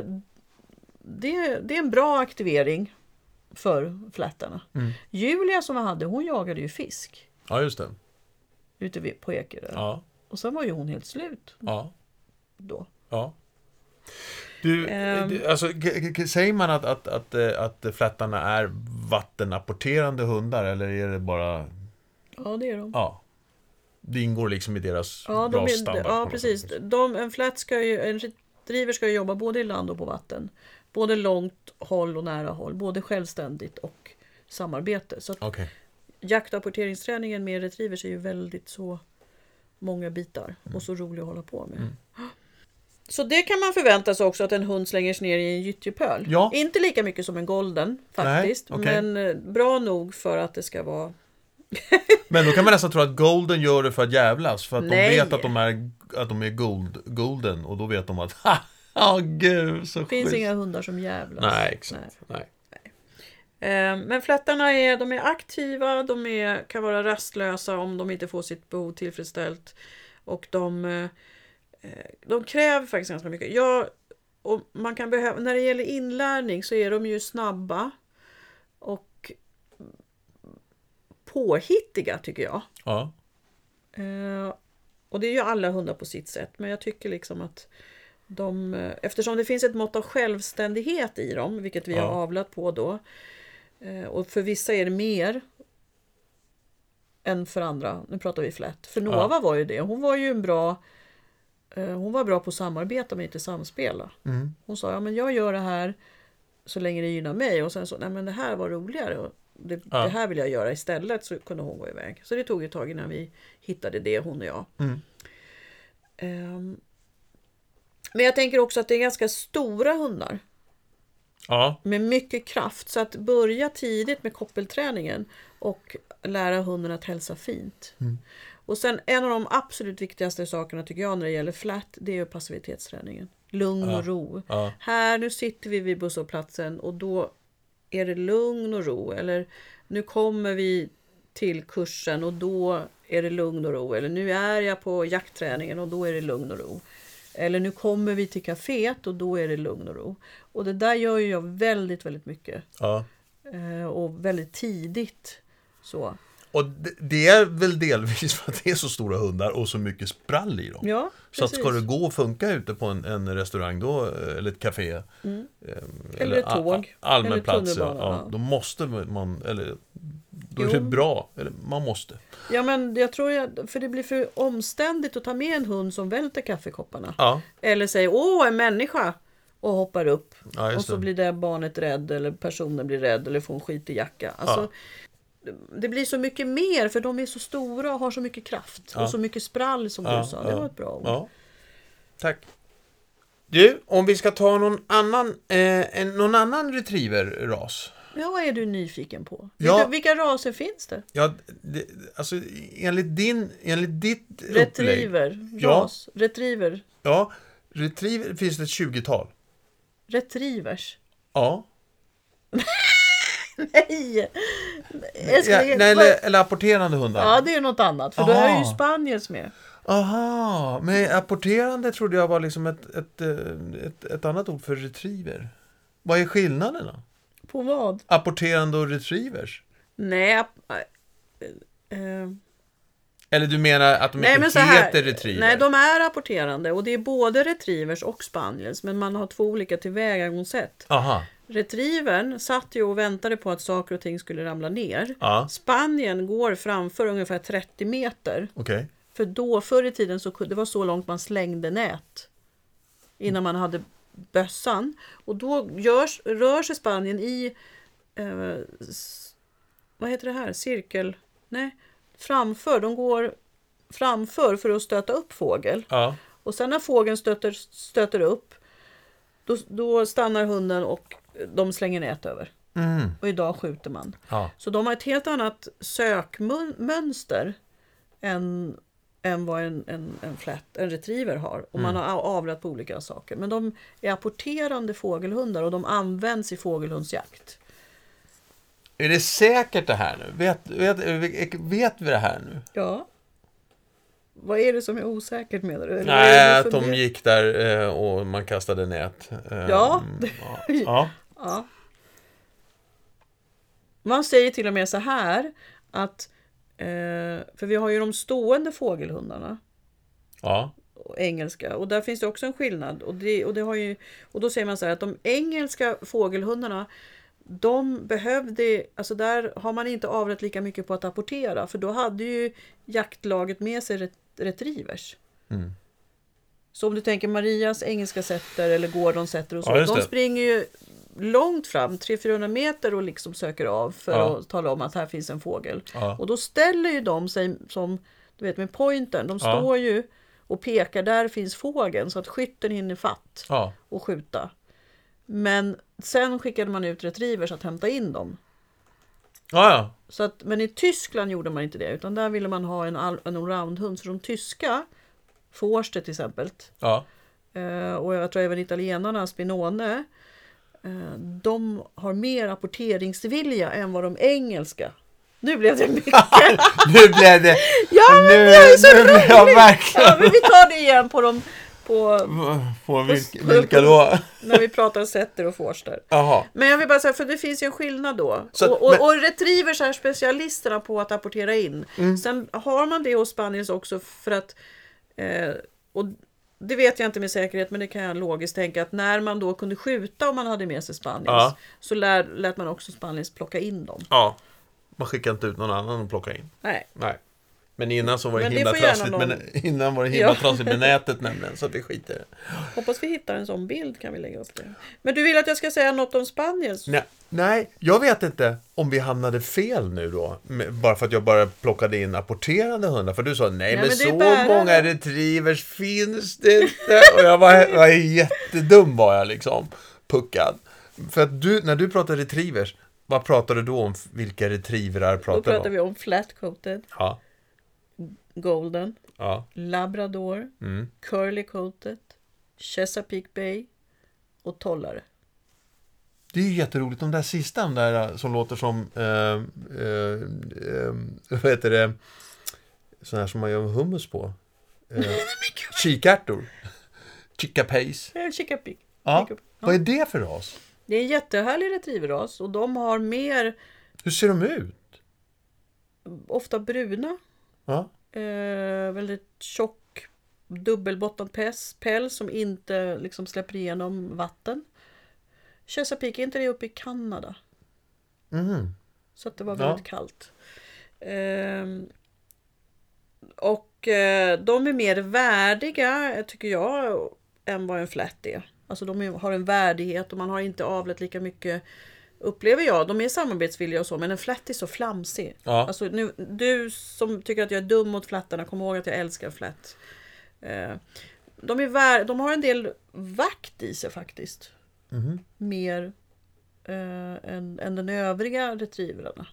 [SPEAKER 2] det, det är en bra aktivering för flättarna.
[SPEAKER 1] Mm.
[SPEAKER 2] Julia som jag hade, hon jagade ju fisk
[SPEAKER 1] ja, just det.
[SPEAKER 2] ute vid- på Ekerö.
[SPEAKER 1] Ja,
[SPEAKER 2] Och sen var ju hon helt slut
[SPEAKER 1] ja,
[SPEAKER 2] då.
[SPEAKER 1] ja.
[SPEAKER 3] Du,
[SPEAKER 2] Ehm.
[SPEAKER 3] du, alltså, k- k- k- säger man att, att, att, eh, att flättarna är vattenapporterande hundar eller är det bara...
[SPEAKER 2] Ja, det är de.
[SPEAKER 3] Ja.
[SPEAKER 1] Det ingår liksom i deras
[SPEAKER 2] Ja, de
[SPEAKER 1] bra
[SPEAKER 2] är,
[SPEAKER 1] standard. på
[SPEAKER 2] ja
[SPEAKER 1] något
[SPEAKER 2] precis.
[SPEAKER 1] sätt. liksom.
[SPEAKER 2] De, en flätt ska ju, en driver ska ju jobba både i land och på vatten. Både långt håll och nära håll. Både självständigt och samarbete. Så att
[SPEAKER 1] Okej.
[SPEAKER 2] jakt och apporteringsträningen med retrievers är ju väldigt så många bitar
[SPEAKER 1] Mm.
[SPEAKER 2] och så rolig att hålla på med. Så det kan man förvänta sig också att en hund slänger sig ner i en gyttjepöl.
[SPEAKER 1] Ja.
[SPEAKER 2] Inte lika mycket som en golden faktiskt,
[SPEAKER 1] okej.
[SPEAKER 2] men eh, bra nog för att det ska vara
[SPEAKER 3] Men då kan man nästan tro att Golden gör det för att jävlas för att
[SPEAKER 2] Nej.
[SPEAKER 3] de vet att de är, att de är gold, Golden och då vet de att *laughs* ha! Ja, gud så
[SPEAKER 2] Det finns
[SPEAKER 3] schysst.
[SPEAKER 2] inga hundar som jävlas.
[SPEAKER 1] Nej, exakt. Nej.
[SPEAKER 2] Eh, Men flättarna är, de är aktiva, de är, kan vara rastlösa om de inte får sitt behov tillfredsställt. Och de, eh, eh, de kräver faktiskt ganska mycket. Jag, och man kan behöva, när det gäller inlärning så är de ju snabba och påhittiga tycker jag.
[SPEAKER 1] Ja.
[SPEAKER 2] Eh, och det är ju alla hundar på sitt sätt, men jag tycker liksom att de, eh, eftersom det finns ett mått av självständighet i dem, vilket vi
[SPEAKER 1] Ja.
[SPEAKER 2] har avlat på då, eh, och för vissa är det mer än för andra, nu pratar vi flätt. För Nova var ju det, hon var ju en bra eh, hon var bra på att samarbeta men inte samspela. Hon sa, ja men jag gör det här så länge det gynnar mig och sen så, nej men det här var roligare och det,
[SPEAKER 1] Ja.
[SPEAKER 2] det här vill jag göra istället så kunde hon gå iväg. Så det tog ett tag innan vi hittade det hon och jag.
[SPEAKER 1] Mm.
[SPEAKER 2] Ehm, men jag tänker också att det är ganska stora hundar
[SPEAKER 1] Ja.
[SPEAKER 2] med mycket kraft så att börja tidigt med koppelträningen och lära hunden att hälsa fint.
[SPEAKER 1] Mm.
[SPEAKER 2] Och sen en av de absolut viktigaste sakerna tycker jag när det gäller flat det är ju passivitetsträningen. Lugn och ro.
[SPEAKER 1] Ja.
[SPEAKER 2] Här nu sitter vi vid busshållplatsen och då är det lugn och ro eller nu kommer vi till kursen och då är det lugn och ro eller nu är jag på jaktträningen och då är det lugn och ro. Eller nu kommer vi till kaféet och då är det lugn och ro. Och det där gör ju jag väldigt, väldigt mycket
[SPEAKER 1] ja.
[SPEAKER 2] eh, och väldigt tidigt. Så.
[SPEAKER 3] Och det, det är väl delvis för att det är så stora hundar och så mycket sprall i dem.
[SPEAKER 2] Ja,
[SPEAKER 3] Så att
[SPEAKER 2] precis.
[SPEAKER 3] ska det gå och funka ute på en, en restaurang då, eller ett café eh,
[SPEAKER 2] Mm. Eller ett
[SPEAKER 3] a- a-
[SPEAKER 2] tåg,
[SPEAKER 3] Allmän
[SPEAKER 2] eller
[SPEAKER 3] plats, ja,
[SPEAKER 2] tunnelbana,
[SPEAKER 3] ja.
[SPEAKER 2] ja.
[SPEAKER 3] Då måste man, eller då
[SPEAKER 2] Jo.
[SPEAKER 3] är det bra. Eller, man måste.
[SPEAKER 2] Ja, men jag tror jag, för det blir för omständigt att ta med en hund som välter kaffekopparna.
[SPEAKER 3] Ja,
[SPEAKER 2] Eller säger åh, en människa och hoppar upp.
[SPEAKER 3] Ja, just
[SPEAKER 2] och så
[SPEAKER 3] det.
[SPEAKER 2] blir det barnet rädd eller personen blir rädd eller får en skitig jacka. Alltså, Det blir så mycket mer för de är så stora och har så mycket kraft och så mycket sprall som
[SPEAKER 1] Ja,
[SPEAKER 2] du sa. Det
[SPEAKER 1] ja,
[SPEAKER 2] var ett bra ord.
[SPEAKER 1] Ja. Tack. Du, om vi ska ta någon annan, eh, en, någon annan retrieverras.
[SPEAKER 2] Ja, vad är du nyfiken på?
[SPEAKER 1] Ja.
[SPEAKER 2] Vilka, vilka raser finns det?
[SPEAKER 1] Ja, det, alltså enligt din, enligt ditt upplägg.
[SPEAKER 2] Retriever,
[SPEAKER 1] Ja.
[SPEAKER 2] ras, retriever,
[SPEAKER 1] Ja, retriever finns det ett 20-tal.
[SPEAKER 2] retrievers.
[SPEAKER 1] Ja.
[SPEAKER 2] *laughs* Nej! Jag
[SPEAKER 1] ja
[SPEAKER 2] skulle,
[SPEAKER 1] nej, eller, eller apporterande hundar.
[SPEAKER 2] Ja, det är något annat. För då är ju
[SPEAKER 1] Aha.
[SPEAKER 2] Spaniels med.
[SPEAKER 1] Aha, men apporterande trodde jag var liksom ett, ett, eh, ett, ett annat ord för retriever. Vad är skillnaden då?
[SPEAKER 2] På vad?
[SPEAKER 1] Apporterande och retrievers?
[SPEAKER 2] äh, Nej. ap- eh, eh,
[SPEAKER 1] Eller du menar att de
[SPEAKER 2] Nej,
[SPEAKER 1] inte
[SPEAKER 2] men så här,
[SPEAKER 1] heter retriever?
[SPEAKER 2] Nej, de är apporterande och det är både retrievers och spaniels, men man har två olika tillvägagångssätt.
[SPEAKER 1] Aha.
[SPEAKER 2] Retrievern satt ju och väntade på att saker och ting skulle ramla ner.
[SPEAKER 1] Ja,
[SPEAKER 2] Spanien går framför ungefär 30 meter.
[SPEAKER 1] okej.
[SPEAKER 2] För då, förr i tiden, så, kunde- det var så långt man slängde nät. Innan man hade bössan. Och då görs, rör sig Spanien i... Eh, s, vad heter det här? Cirkel? Nej. Framför. De går framför för att stöta upp fågel.
[SPEAKER 1] Ja.
[SPEAKER 2] Och sen när fågeln stöter, stöter upp, då, då stannar hunden och de slänger nät över.
[SPEAKER 1] Mm.
[SPEAKER 2] Och idag skjuter man.
[SPEAKER 1] Ja.
[SPEAKER 2] Så de har ett helt annat sökmönster än, än vad en, en, en, flat, en retriever har. Och
[SPEAKER 1] Mm.
[SPEAKER 2] man har avlat på olika saker. Men de är apporterande fågelhundar och de används i fågelhundsjakt.
[SPEAKER 1] Är det säkert det här nu? Vet, vet, vet vi det här nu?
[SPEAKER 2] Ja. Vad är det som är osäkert med det? Eller vad är
[SPEAKER 1] Nej,
[SPEAKER 2] det
[SPEAKER 1] att
[SPEAKER 2] som
[SPEAKER 1] de
[SPEAKER 2] är-
[SPEAKER 1] gick där eh, och man kastade nät. Eh,
[SPEAKER 2] Ja.
[SPEAKER 1] ja.
[SPEAKER 2] Ja. Man säger till och med så här att eh, för vi har ju de stående fågelhundarna
[SPEAKER 1] Ja.
[SPEAKER 2] och engelska och där finns det också en skillnad och, det, och, det har ju, och då säger man så här att de engelska fågelhundarna de behövde, alltså där har man inte avrätt lika mycket på att apportera för då hade ju jaktlaget med sig ret- retrievers.
[SPEAKER 1] Mm.
[SPEAKER 2] Så om du tänker Marias engelska setter eller Gordons setter och så,
[SPEAKER 1] Ja, just
[SPEAKER 2] de
[SPEAKER 1] det.
[SPEAKER 2] springer ju långt fram, 300-400 meter och liksom söker av för
[SPEAKER 1] Ja.
[SPEAKER 2] att tala om att här finns en fågel.
[SPEAKER 1] Ja.
[SPEAKER 2] Och då ställer ju de sig som, du vet med pointern, de
[SPEAKER 1] Ja.
[SPEAKER 2] står ju och pekar, där finns fågeln så att skytten hinner fatt
[SPEAKER 1] ja.
[SPEAKER 2] och skjuta. Men sen skickade man ut retrievers att hämta in dem.
[SPEAKER 1] Ja, ja.
[SPEAKER 2] Så att, men i Tyskland gjorde man inte det, utan där ville man ha en, all- en allroundhund. Så de tyska, Forster till exempel,
[SPEAKER 1] Ja.
[SPEAKER 2] eh, och jag tror även italienarna, Spinone, eh, de har mer rapporteringsvilja än vad de engelska. Nu blev det mycket!
[SPEAKER 1] *laughs* Nu blev det...
[SPEAKER 2] Ja, men
[SPEAKER 1] nu,
[SPEAKER 2] det är så
[SPEAKER 1] nu blev jag
[SPEAKER 2] roligt! Ja,
[SPEAKER 1] verkligen...
[SPEAKER 2] men vi tar det igen på de, på,
[SPEAKER 1] På vilka, vilka då?
[SPEAKER 2] när vi pratar setter och forster.
[SPEAKER 1] Jaha.
[SPEAKER 2] Men jag vill bara säga, för det finns ju en skillnad då.
[SPEAKER 1] Så att-
[SPEAKER 2] och, och,
[SPEAKER 1] men-
[SPEAKER 2] och retrievers är specialisterna på att apportera in.
[SPEAKER 1] Mm.
[SPEAKER 2] Sen har man det hos Spaniels också för att, eh, och det vet jag inte med säkerhet, men det kan jag logiskt tänka att när man då kunde skjuta om man hade med sig Spaniels,
[SPEAKER 1] Ja.
[SPEAKER 2] så lär, lät man också Spaniels plocka in dem.
[SPEAKER 1] Ja. Man skickar inte ut någon annan och plockar in.
[SPEAKER 2] Nej.
[SPEAKER 1] Nej. Men innan så var det
[SPEAKER 2] Men det
[SPEAKER 1] himla
[SPEAKER 2] får gärna
[SPEAKER 1] trassligt
[SPEAKER 2] någon-
[SPEAKER 1] med, innan var det himla
[SPEAKER 2] Ja.
[SPEAKER 1] trassligt med nätet nämligen, så att vi skiter i det.
[SPEAKER 2] Hoppas vi hittar en sån bild kan vi lägga upp det. Men du vill att jag ska säga något om Spaniels?
[SPEAKER 1] Nej, nej, jag vet inte om vi hamnade fel nu då. med- Bara för att jag bara plockade in apporterande hundar. För du sa nej, men,
[SPEAKER 2] men det är
[SPEAKER 1] så
[SPEAKER 2] bärare."
[SPEAKER 1] många retrievers finns det inte. Och jag var, jag var jättedum var jag liksom. Puckad. För att du, när du pratade retrievers, vad pratade du då om? Vilka retrievrar
[SPEAKER 2] Då
[SPEAKER 1] pratade
[SPEAKER 2] pratar
[SPEAKER 1] du om?
[SPEAKER 2] vi om flat-coated,
[SPEAKER 1] Ja,
[SPEAKER 2] golden,
[SPEAKER 1] ja,
[SPEAKER 2] labrador,
[SPEAKER 1] mm,
[SPEAKER 2] Curly Coated, Chesapeake Bay och Tollare.
[SPEAKER 1] Det är ju jätteroligt, de där sista, de där eh, som låter som, eh, eh, eh, *laughs* vad heter det, sådana här som man gör hummus på. Eh, kikärtor. Chickapejs.
[SPEAKER 2] Eh, Chesapeake.
[SPEAKER 1] Ja.
[SPEAKER 2] Chesapeake.
[SPEAKER 1] Vad är det för ras?
[SPEAKER 2] Det är en jättehärlig retrieverras och de har mer,
[SPEAKER 1] Hur ser de ut?
[SPEAKER 2] ofta bruna,
[SPEAKER 1] Ja,
[SPEAKER 2] eh, väldigt tjock dubbelbottnad päls, päls som inte liksom släpper igenom vatten. Chesapeake, är inte det uppe i Kanada?
[SPEAKER 1] mm.
[SPEAKER 2] Så att det var
[SPEAKER 1] Ja.
[SPEAKER 2] väldigt kallt. Ehm, och eh, de är mer värdiga, tycker jag, än vad en flat är. Alltså de är- har en värdighet och man har inte avlat lika mycket, upplever jag. De är samarbetsvilliga och så, men en flat är så flamsig.
[SPEAKER 1] ja.
[SPEAKER 2] Alltså nu, du som tycker att jag är dum mot flattarna, kom ihåg att jag älskar flatt. Eh, de, är vär- de har en del vakt i sig faktiskt.
[SPEAKER 1] Mhm.
[SPEAKER 2] Mer eh, än, än den övriga retrieverna.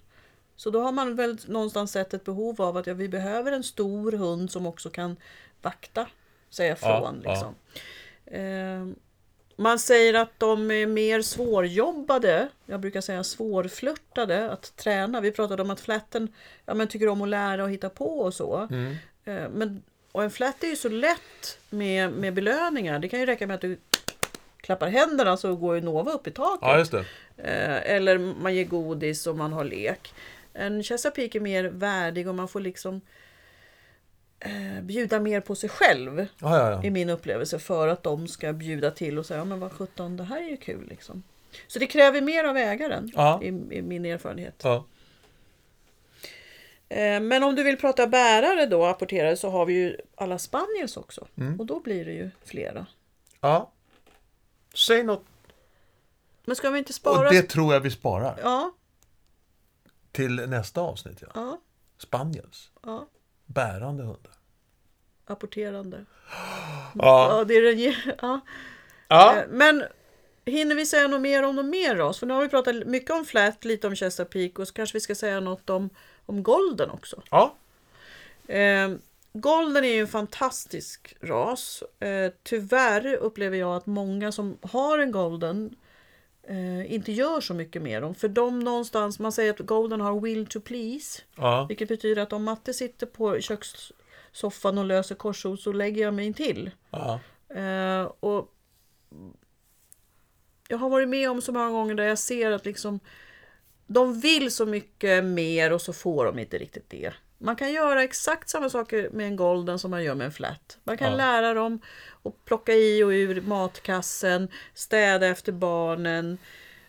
[SPEAKER 2] Så då har man väl någonstans sett ett behov av att ja, vi behöver en stor hund som också kan vakta, säga
[SPEAKER 1] Ja,
[SPEAKER 2] från.
[SPEAKER 1] ja.
[SPEAKER 2] liksom. Eh, man säger att de är mer svårjobbade, jag brukar säga svårflörtade, att träna. Vi pratade om att flätten ja, men tycker om att lära och hitta på och så.
[SPEAKER 1] Mm.
[SPEAKER 2] Eh, Men, och en flätt är ju så lätt med, med belöningar. Det kan ju räcka med att du klappar händerna så går ju Nova upp i taket.
[SPEAKER 1] ja, just det.
[SPEAKER 2] Eh, Eller man ger godis och man har lek. En Chesapeake är mer värdig och man får liksom eh, bjuda mer på sig själv
[SPEAKER 1] Ja, ja,
[SPEAKER 2] i
[SPEAKER 1] ja.
[SPEAKER 2] min upplevelse för att de ska bjuda till och säga ja, men vad sjutton det här är ju kul liksom. Så det kräver mer av ägaren
[SPEAKER 1] Ja.
[SPEAKER 2] i, i min erfarenhet.
[SPEAKER 1] ja.
[SPEAKER 2] Eh, Men om du vill prata bärare då, apporterare, så har vi ju alla spaniels också.
[SPEAKER 1] Mm.
[SPEAKER 2] Och då blir det ju flera.
[SPEAKER 1] ja. Säg något.
[SPEAKER 2] Men ska vi inte spara?
[SPEAKER 1] Och det tror jag vi sparar
[SPEAKER 2] Ja,
[SPEAKER 1] till nästa avsnitt. Ja.
[SPEAKER 2] ja,
[SPEAKER 1] Spaniels.
[SPEAKER 2] ja.
[SPEAKER 1] Bärande hundar.
[SPEAKER 2] Apporterande.
[SPEAKER 1] Ja.
[SPEAKER 2] Ja, det är den... ge- ja.
[SPEAKER 1] ja.
[SPEAKER 2] Eh, Men hinner vi säga något mer om någon mer ras? För nu har vi pratat mycket om flat, lite om Chester Peak och så kanske vi ska säga något om, om golden också.
[SPEAKER 1] ja.
[SPEAKER 2] Eh, golden är ju en fantastisk ras. Eh, tyvärr upplever jag att många som har en golden eh, inte gör så mycket med dem. För de någonstans, man säger att golden har will to please.
[SPEAKER 1] ja.
[SPEAKER 2] Vilket betyder att om matte sitter på kökssoffan och löser korsord så lägger jag mig intill.
[SPEAKER 1] ja.
[SPEAKER 2] Eh, och jag har varit med om så många gånger där jag ser att liksom de vill så mycket mer och så får de inte riktigt det. Man kan göra exakt samma saker med en golden som man gör med en flat. Man kan
[SPEAKER 1] Ja.
[SPEAKER 2] lära dem att plocka i och ur matkassen, städa efter barnen,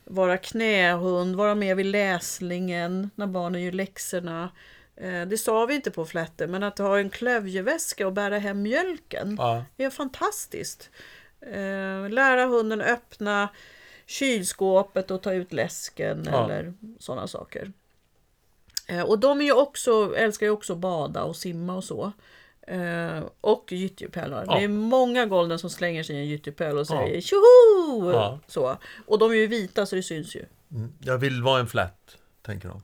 [SPEAKER 2] vara knähund, vara med vid läsningen när barnen gör läxorna. Eh, Det sa vi inte på flätten, men att ha en klövjeväska och bära hem mjölken.
[SPEAKER 1] ja.
[SPEAKER 2] Det är fantastiskt. Eh, lära hunden öppna kylskåpet och ta ut läsken
[SPEAKER 1] Ja.
[SPEAKER 2] eller sådana saker. Eh, och de är ju också, älskar ju också att bada och simma och så. Eh, och gyttjepölar.
[SPEAKER 1] Ja.
[SPEAKER 2] Det är många golden som slänger sig i en gyttjepöl och säger tjoho!
[SPEAKER 1] Ja.
[SPEAKER 2] Så. Och de är ju vita så det syns ju. *laughs*
[SPEAKER 1] Mm. Jag vill vara en flat, tänker de.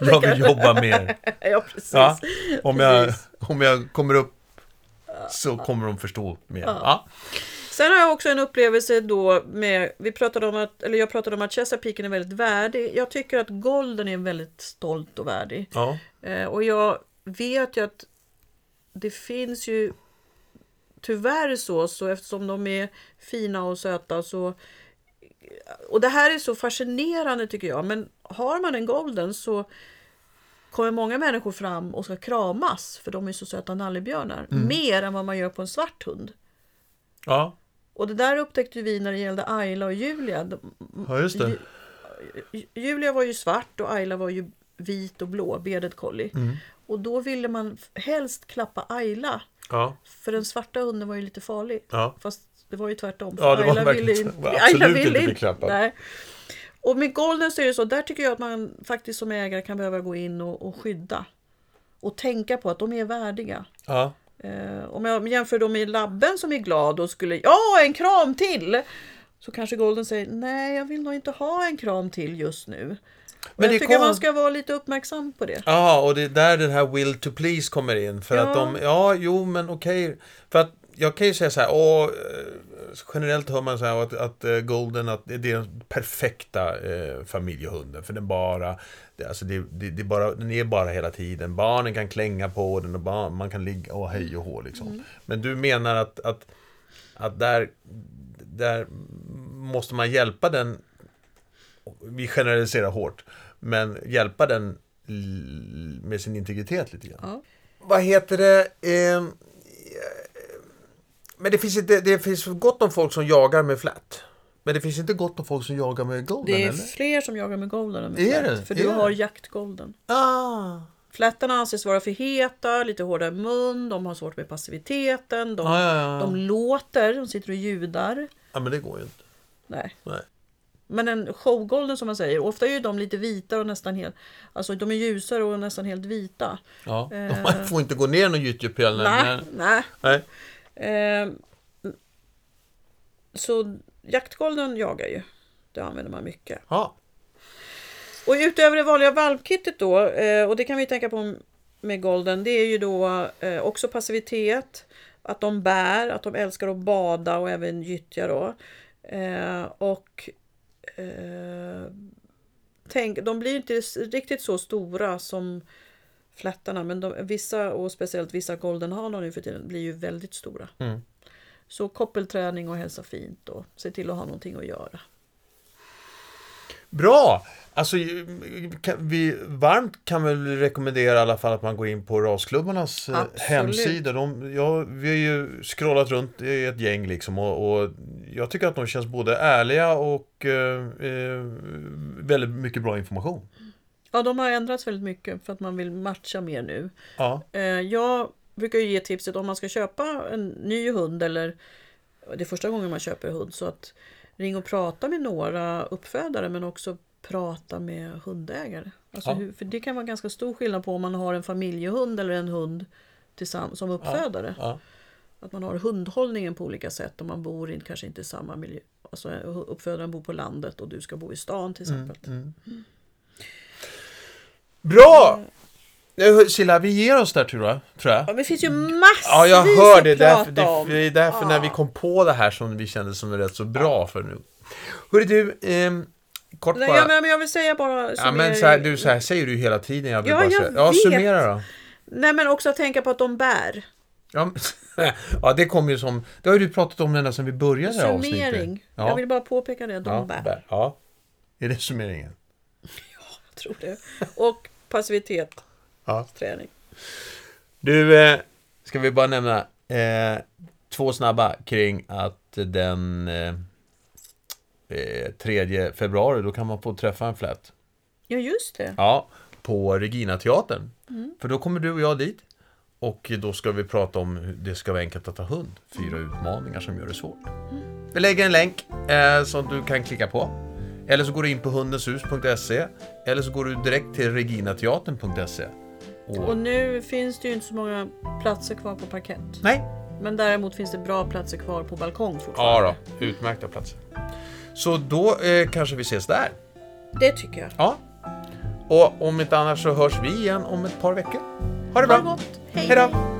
[SPEAKER 1] Jag vill jobba mer.
[SPEAKER 2] Ja, precis.
[SPEAKER 1] Ja. Om, jag,
[SPEAKER 2] Precis.
[SPEAKER 1] om jag kommer upp så kommer de förstå mer. Ja.
[SPEAKER 2] Sen har jag också en upplevelse då med, vi pratade om att, eller jag pratade om att Chesapeake är väldigt värdig. Jag tycker att Golden är väldigt stolt och värdig.
[SPEAKER 1] Ja.
[SPEAKER 2] Eh, och jag vet ju att det finns ju tyvärr så, så eftersom de är fina och söta så och det här är så fascinerande tycker jag, men har man en golden så kommer många människor fram och ska kramas för de är så söta nallebjörnar. Mer än vad man gör på en svart hund.
[SPEAKER 1] Ja.
[SPEAKER 2] Och det där upptäckte vi när det gällde Ayla och Julia. De-
[SPEAKER 1] ja, just det.
[SPEAKER 2] Ju- Ju- Julia var ju svart och Ayla var ju vit och blå, bearded collie.
[SPEAKER 1] Mm.
[SPEAKER 2] Och då ville man f- helst klappa Ayla,
[SPEAKER 1] Ja.
[SPEAKER 2] för den svarta hunden var ju lite farlig.
[SPEAKER 1] Ja.
[SPEAKER 2] Fast det var ju tvärtom.
[SPEAKER 1] Ja, det var
[SPEAKER 2] Ayla
[SPEAKER 1] verkligen
[SPEAKER 2] ville,
[SPEAKER 1] så.
[SPEAKER 2] inte-
[SPEAKER 1] Absolut
[SPEAKER 2] Ayla
[SPEAKER 1] inte
[SPEAKER 2] ville
[SPEAKER 1] bli
[SPEAKER 2] inte.
[SPEAKER 1] klappad.
[SPEAKER 2] Nej. Och med golden så är det så, där tycker jag att man faktiskt som ägare kan behöva gå in och, och skydda. Och tänka på att de är värdiga.
[SPEAKER 1] Ja.
[SPEAKER 2] Eh, om jag jämför då med labben som är glad och skulle ja, en kram till! Så kanske Golden säger nej, jag vill nog inte ha en kram till just nu. Men
[SPEAKER 1] Men
[SPEAKER 2] jag
[SPEAKER 1] det
[SPEAKER 2] tycker
[SPEAKER 1] kom-
[SPEAKER 2] man ska vara lite uppmärksam på det.
[SPEAKER 1] Ja, och det är där den här will to please kommer in. För att
[SPEAKER 2] Ja.
[SPEAKER 1] de, ja, jo, men okej. För att jag kan ju säga så här, åh, eh, generellt hör man så här att, att eh, Golden, att det det är den perfekta eh, familjehunden. För den bara, det, alltså det, det, det är bara, den är bara hela tiden. Barnen kan klänga på den och barn, man kan ligga och hej och hå liksom. Men du menar att, att, att där, där måste man hjälpa den vi generaliserar hårt, men hjälpa den l- med sin integritet lite grann.
[SPEAKER 2] Ja.
[SPEAKER 1] Vad heter det? Ehm, eh, men det finns, inte, det finns gott om folk som jagar med flat. Men det finns inte gott om folk som jagar med golden,
[SPEAKER 2] Det är
[SPEAKER 1] eller?
[SPEAKER 2] fler som jagar med Golden än med
[SPEAKER 1] Är
[SPEAKER 2] flätt,
[SPEAKER 1] det?
[SPEAKER 2] För
[SPEAKER 1] Är
[SPEAKER 2] du
[SPEAKER 1] det?
[SPEAKER 2] har jaktgolden.
[SPEAKER 1] Ah,
[SPEAKER 2] Flättarna anses vara för heta, lite hårda i mun, de har svårt med passiviteten, de,
[SPEAKER 1] Ja, ja, ja.
[SPEAKER 2] de låter, de sitter och ljudar.
[SPEAKER 1] ja, men det går ju inte.
[SPEAKER 2] Nej.
[SPEAKER 1] Nej.
[SPEAKER 2] Men en showgolden som man säger, ofta är ju de lite vita och nästan helt, alltså de är ljusare och nästan helt vita.
[SPEAKER 1] Ja. *laughs* Man får inte gå ner någon gyttjepöl.
[SPEAKER 2] Nej,
[SPEAKER 1] Nej.
[SPEAKER 2] nej.
[SPEAKER 1] Nej.
[SPEAKER 2] Ehm, så jaktgolden jagar ju. Det använder man mycket.
[SPEAKER 1] Ja.
[SPEAKER 2] Och utöver det vanliga valpkittet då, eh, och det kan vi tänka på med golden, det är ju då eh, också passivitet, att de bär, att de älskar att bada och även gyttja då. Eh, Och eh, tänk, de blir inte s- riktigt så stora som flättarna, men de, vissa och speciellt vissa goldenhanar nu för tiden blir ju väldigt stora.
[SPEAKER 1] Mm.
[SPEAKER 2] Så koppelträning och hälsa fint och se till att ha någonting att göra.
[SPEAKER 1] Bra! Alltså, kan vi, varmt kan väl rekommendera i alla fall att man går in på rasklubbarnas eh,
[SPEAKER 2] Absolut.
[SPEAKER 1] hemsida. De, ja, vi har ju scrollat runt i ett gäng liksom och, och jag tycker att de känns både ärliga och eh, eh, väldigt mycket bra information.
[SPEAKER 2] Ja, de har ändrats väldigt mycket för att man vill matcha mer nu.
[SPEAKER 1] Ja,
[SPEAKER 2] Eh, Jag brukar ju ge tipset om man ska köpa en ny hund eller det är första gången man köper hund så att ring och prata med några uppfödare men också prata med hundägare. Alltså
[SPEAKER 1] Ja.
[SPEAKER 2] hur, för det kan vara ganska stor skillnad på om man har en familjehund eller en hund tillsamm- som uppfödare.
[SPEAKER 1] ja.
[SPEAKER 2] Att man har hundhållningen på olika sätt om man bor in, kanske inte i samma miljö. Alltså uppfödaren bor på landet och du ska bo i stan
[SPEAKER 1] Mm,
[SPEAKER 2] till exempel.
[SPEAKER 1] Bra! Eh, Silla, vi ger oss där tror jag. Tror jag.
[SPEAKER 2] Ja, men det finns ju massvis
[SPEAKER 1] Ja, jag hör
[SPEAKER 2] att
[SPEAKER 1] det. Därför,
[SPEAKER 2] prata
[SPEAKER 1] det,
[SPEAKER 2] om.
[SPEAKER 1] det är därför när
[SPEAKER 2] Ja.
[SPEAKER 1] vi kom på det här som vi kände som rätt så bra för nu. Hörru du, ehm, kort
[SPEAKER 2] Nej,
[SPEAKER 1] bara.
[SPEAKER 2] ja, men jag vill säga bara...
[SPEAKER 1] ja,
[SPEAKER 2] summera-
[SPEAKER 1] men så här, du, så här säger du ju hela tiden. Jag vill
[SPEAKER 2] Ja,
[SPEAKER 1] bara
[SPEAKER 2] jag
[SPEAKER 1] säga. Ja,
[SPEAKER 2] vet.
[SPEAKER 1] summera då.
[SPEAKER 2] Nej men också att tänka på att de bär.
[SPEAKER 1] Ja, men- *laughs* ja, det kommer ju som... Det har ju du pratat om ända sedan vi började det här avsnittet.
[SPEAKER 2] Summering.
[SPEAKER 1] Ja,
[SPEAKER 2] Jag vill bara påpeka det, de
[SPEAKER 1] ja,
[SPEAKER 2] bär.
[SPEAKER 1] bär. Ja. Är det summeringen?
[SPEAKER 2] Jag tror det. Och passivitet,
[SPEAKER 1] Ja.
[SPEAKER 2] träning.
[SPEAKER 1] Du, eh, ska vi bara nämna eh, två snabba kring att den eh, eh, 3 februari, då kan man få träffa en flat.
[SPEAKER 2] Ja just det.
[SPEAKER 1] Ja, på Regina-teatern. För då kommer du och jag dit. Och då ska vi prata om hur det ska vara enkelt att ta hund. Fyra utmaningar som gör det svårt. Vi lägger en länk eh, som du kan klicka på. Eller så går du in på hundenshus.se. Eller så går du direkt till reginateatern.se. Och...
[SPEAKER 2] Och nu finns det ju inte så många platser kvar på parkett.
[SPEAKER 1] Nej.
[SPEAKER 2] Men däremot finns det bra platser kvar på balkong fortfarande.
[SPEAKER 1] Ja då, utmärkta platser. Så då eh, kanske vi ses där.
[SPEAKER 2] Det tycker jag.
[SPEAKER 1] Ja. Och om inte annars så hörs vi igen om ett par veckor. Ha det bra!
[SPEAKER 2] Ha det gott. Hej.
[SPEAKER 1] Hej då!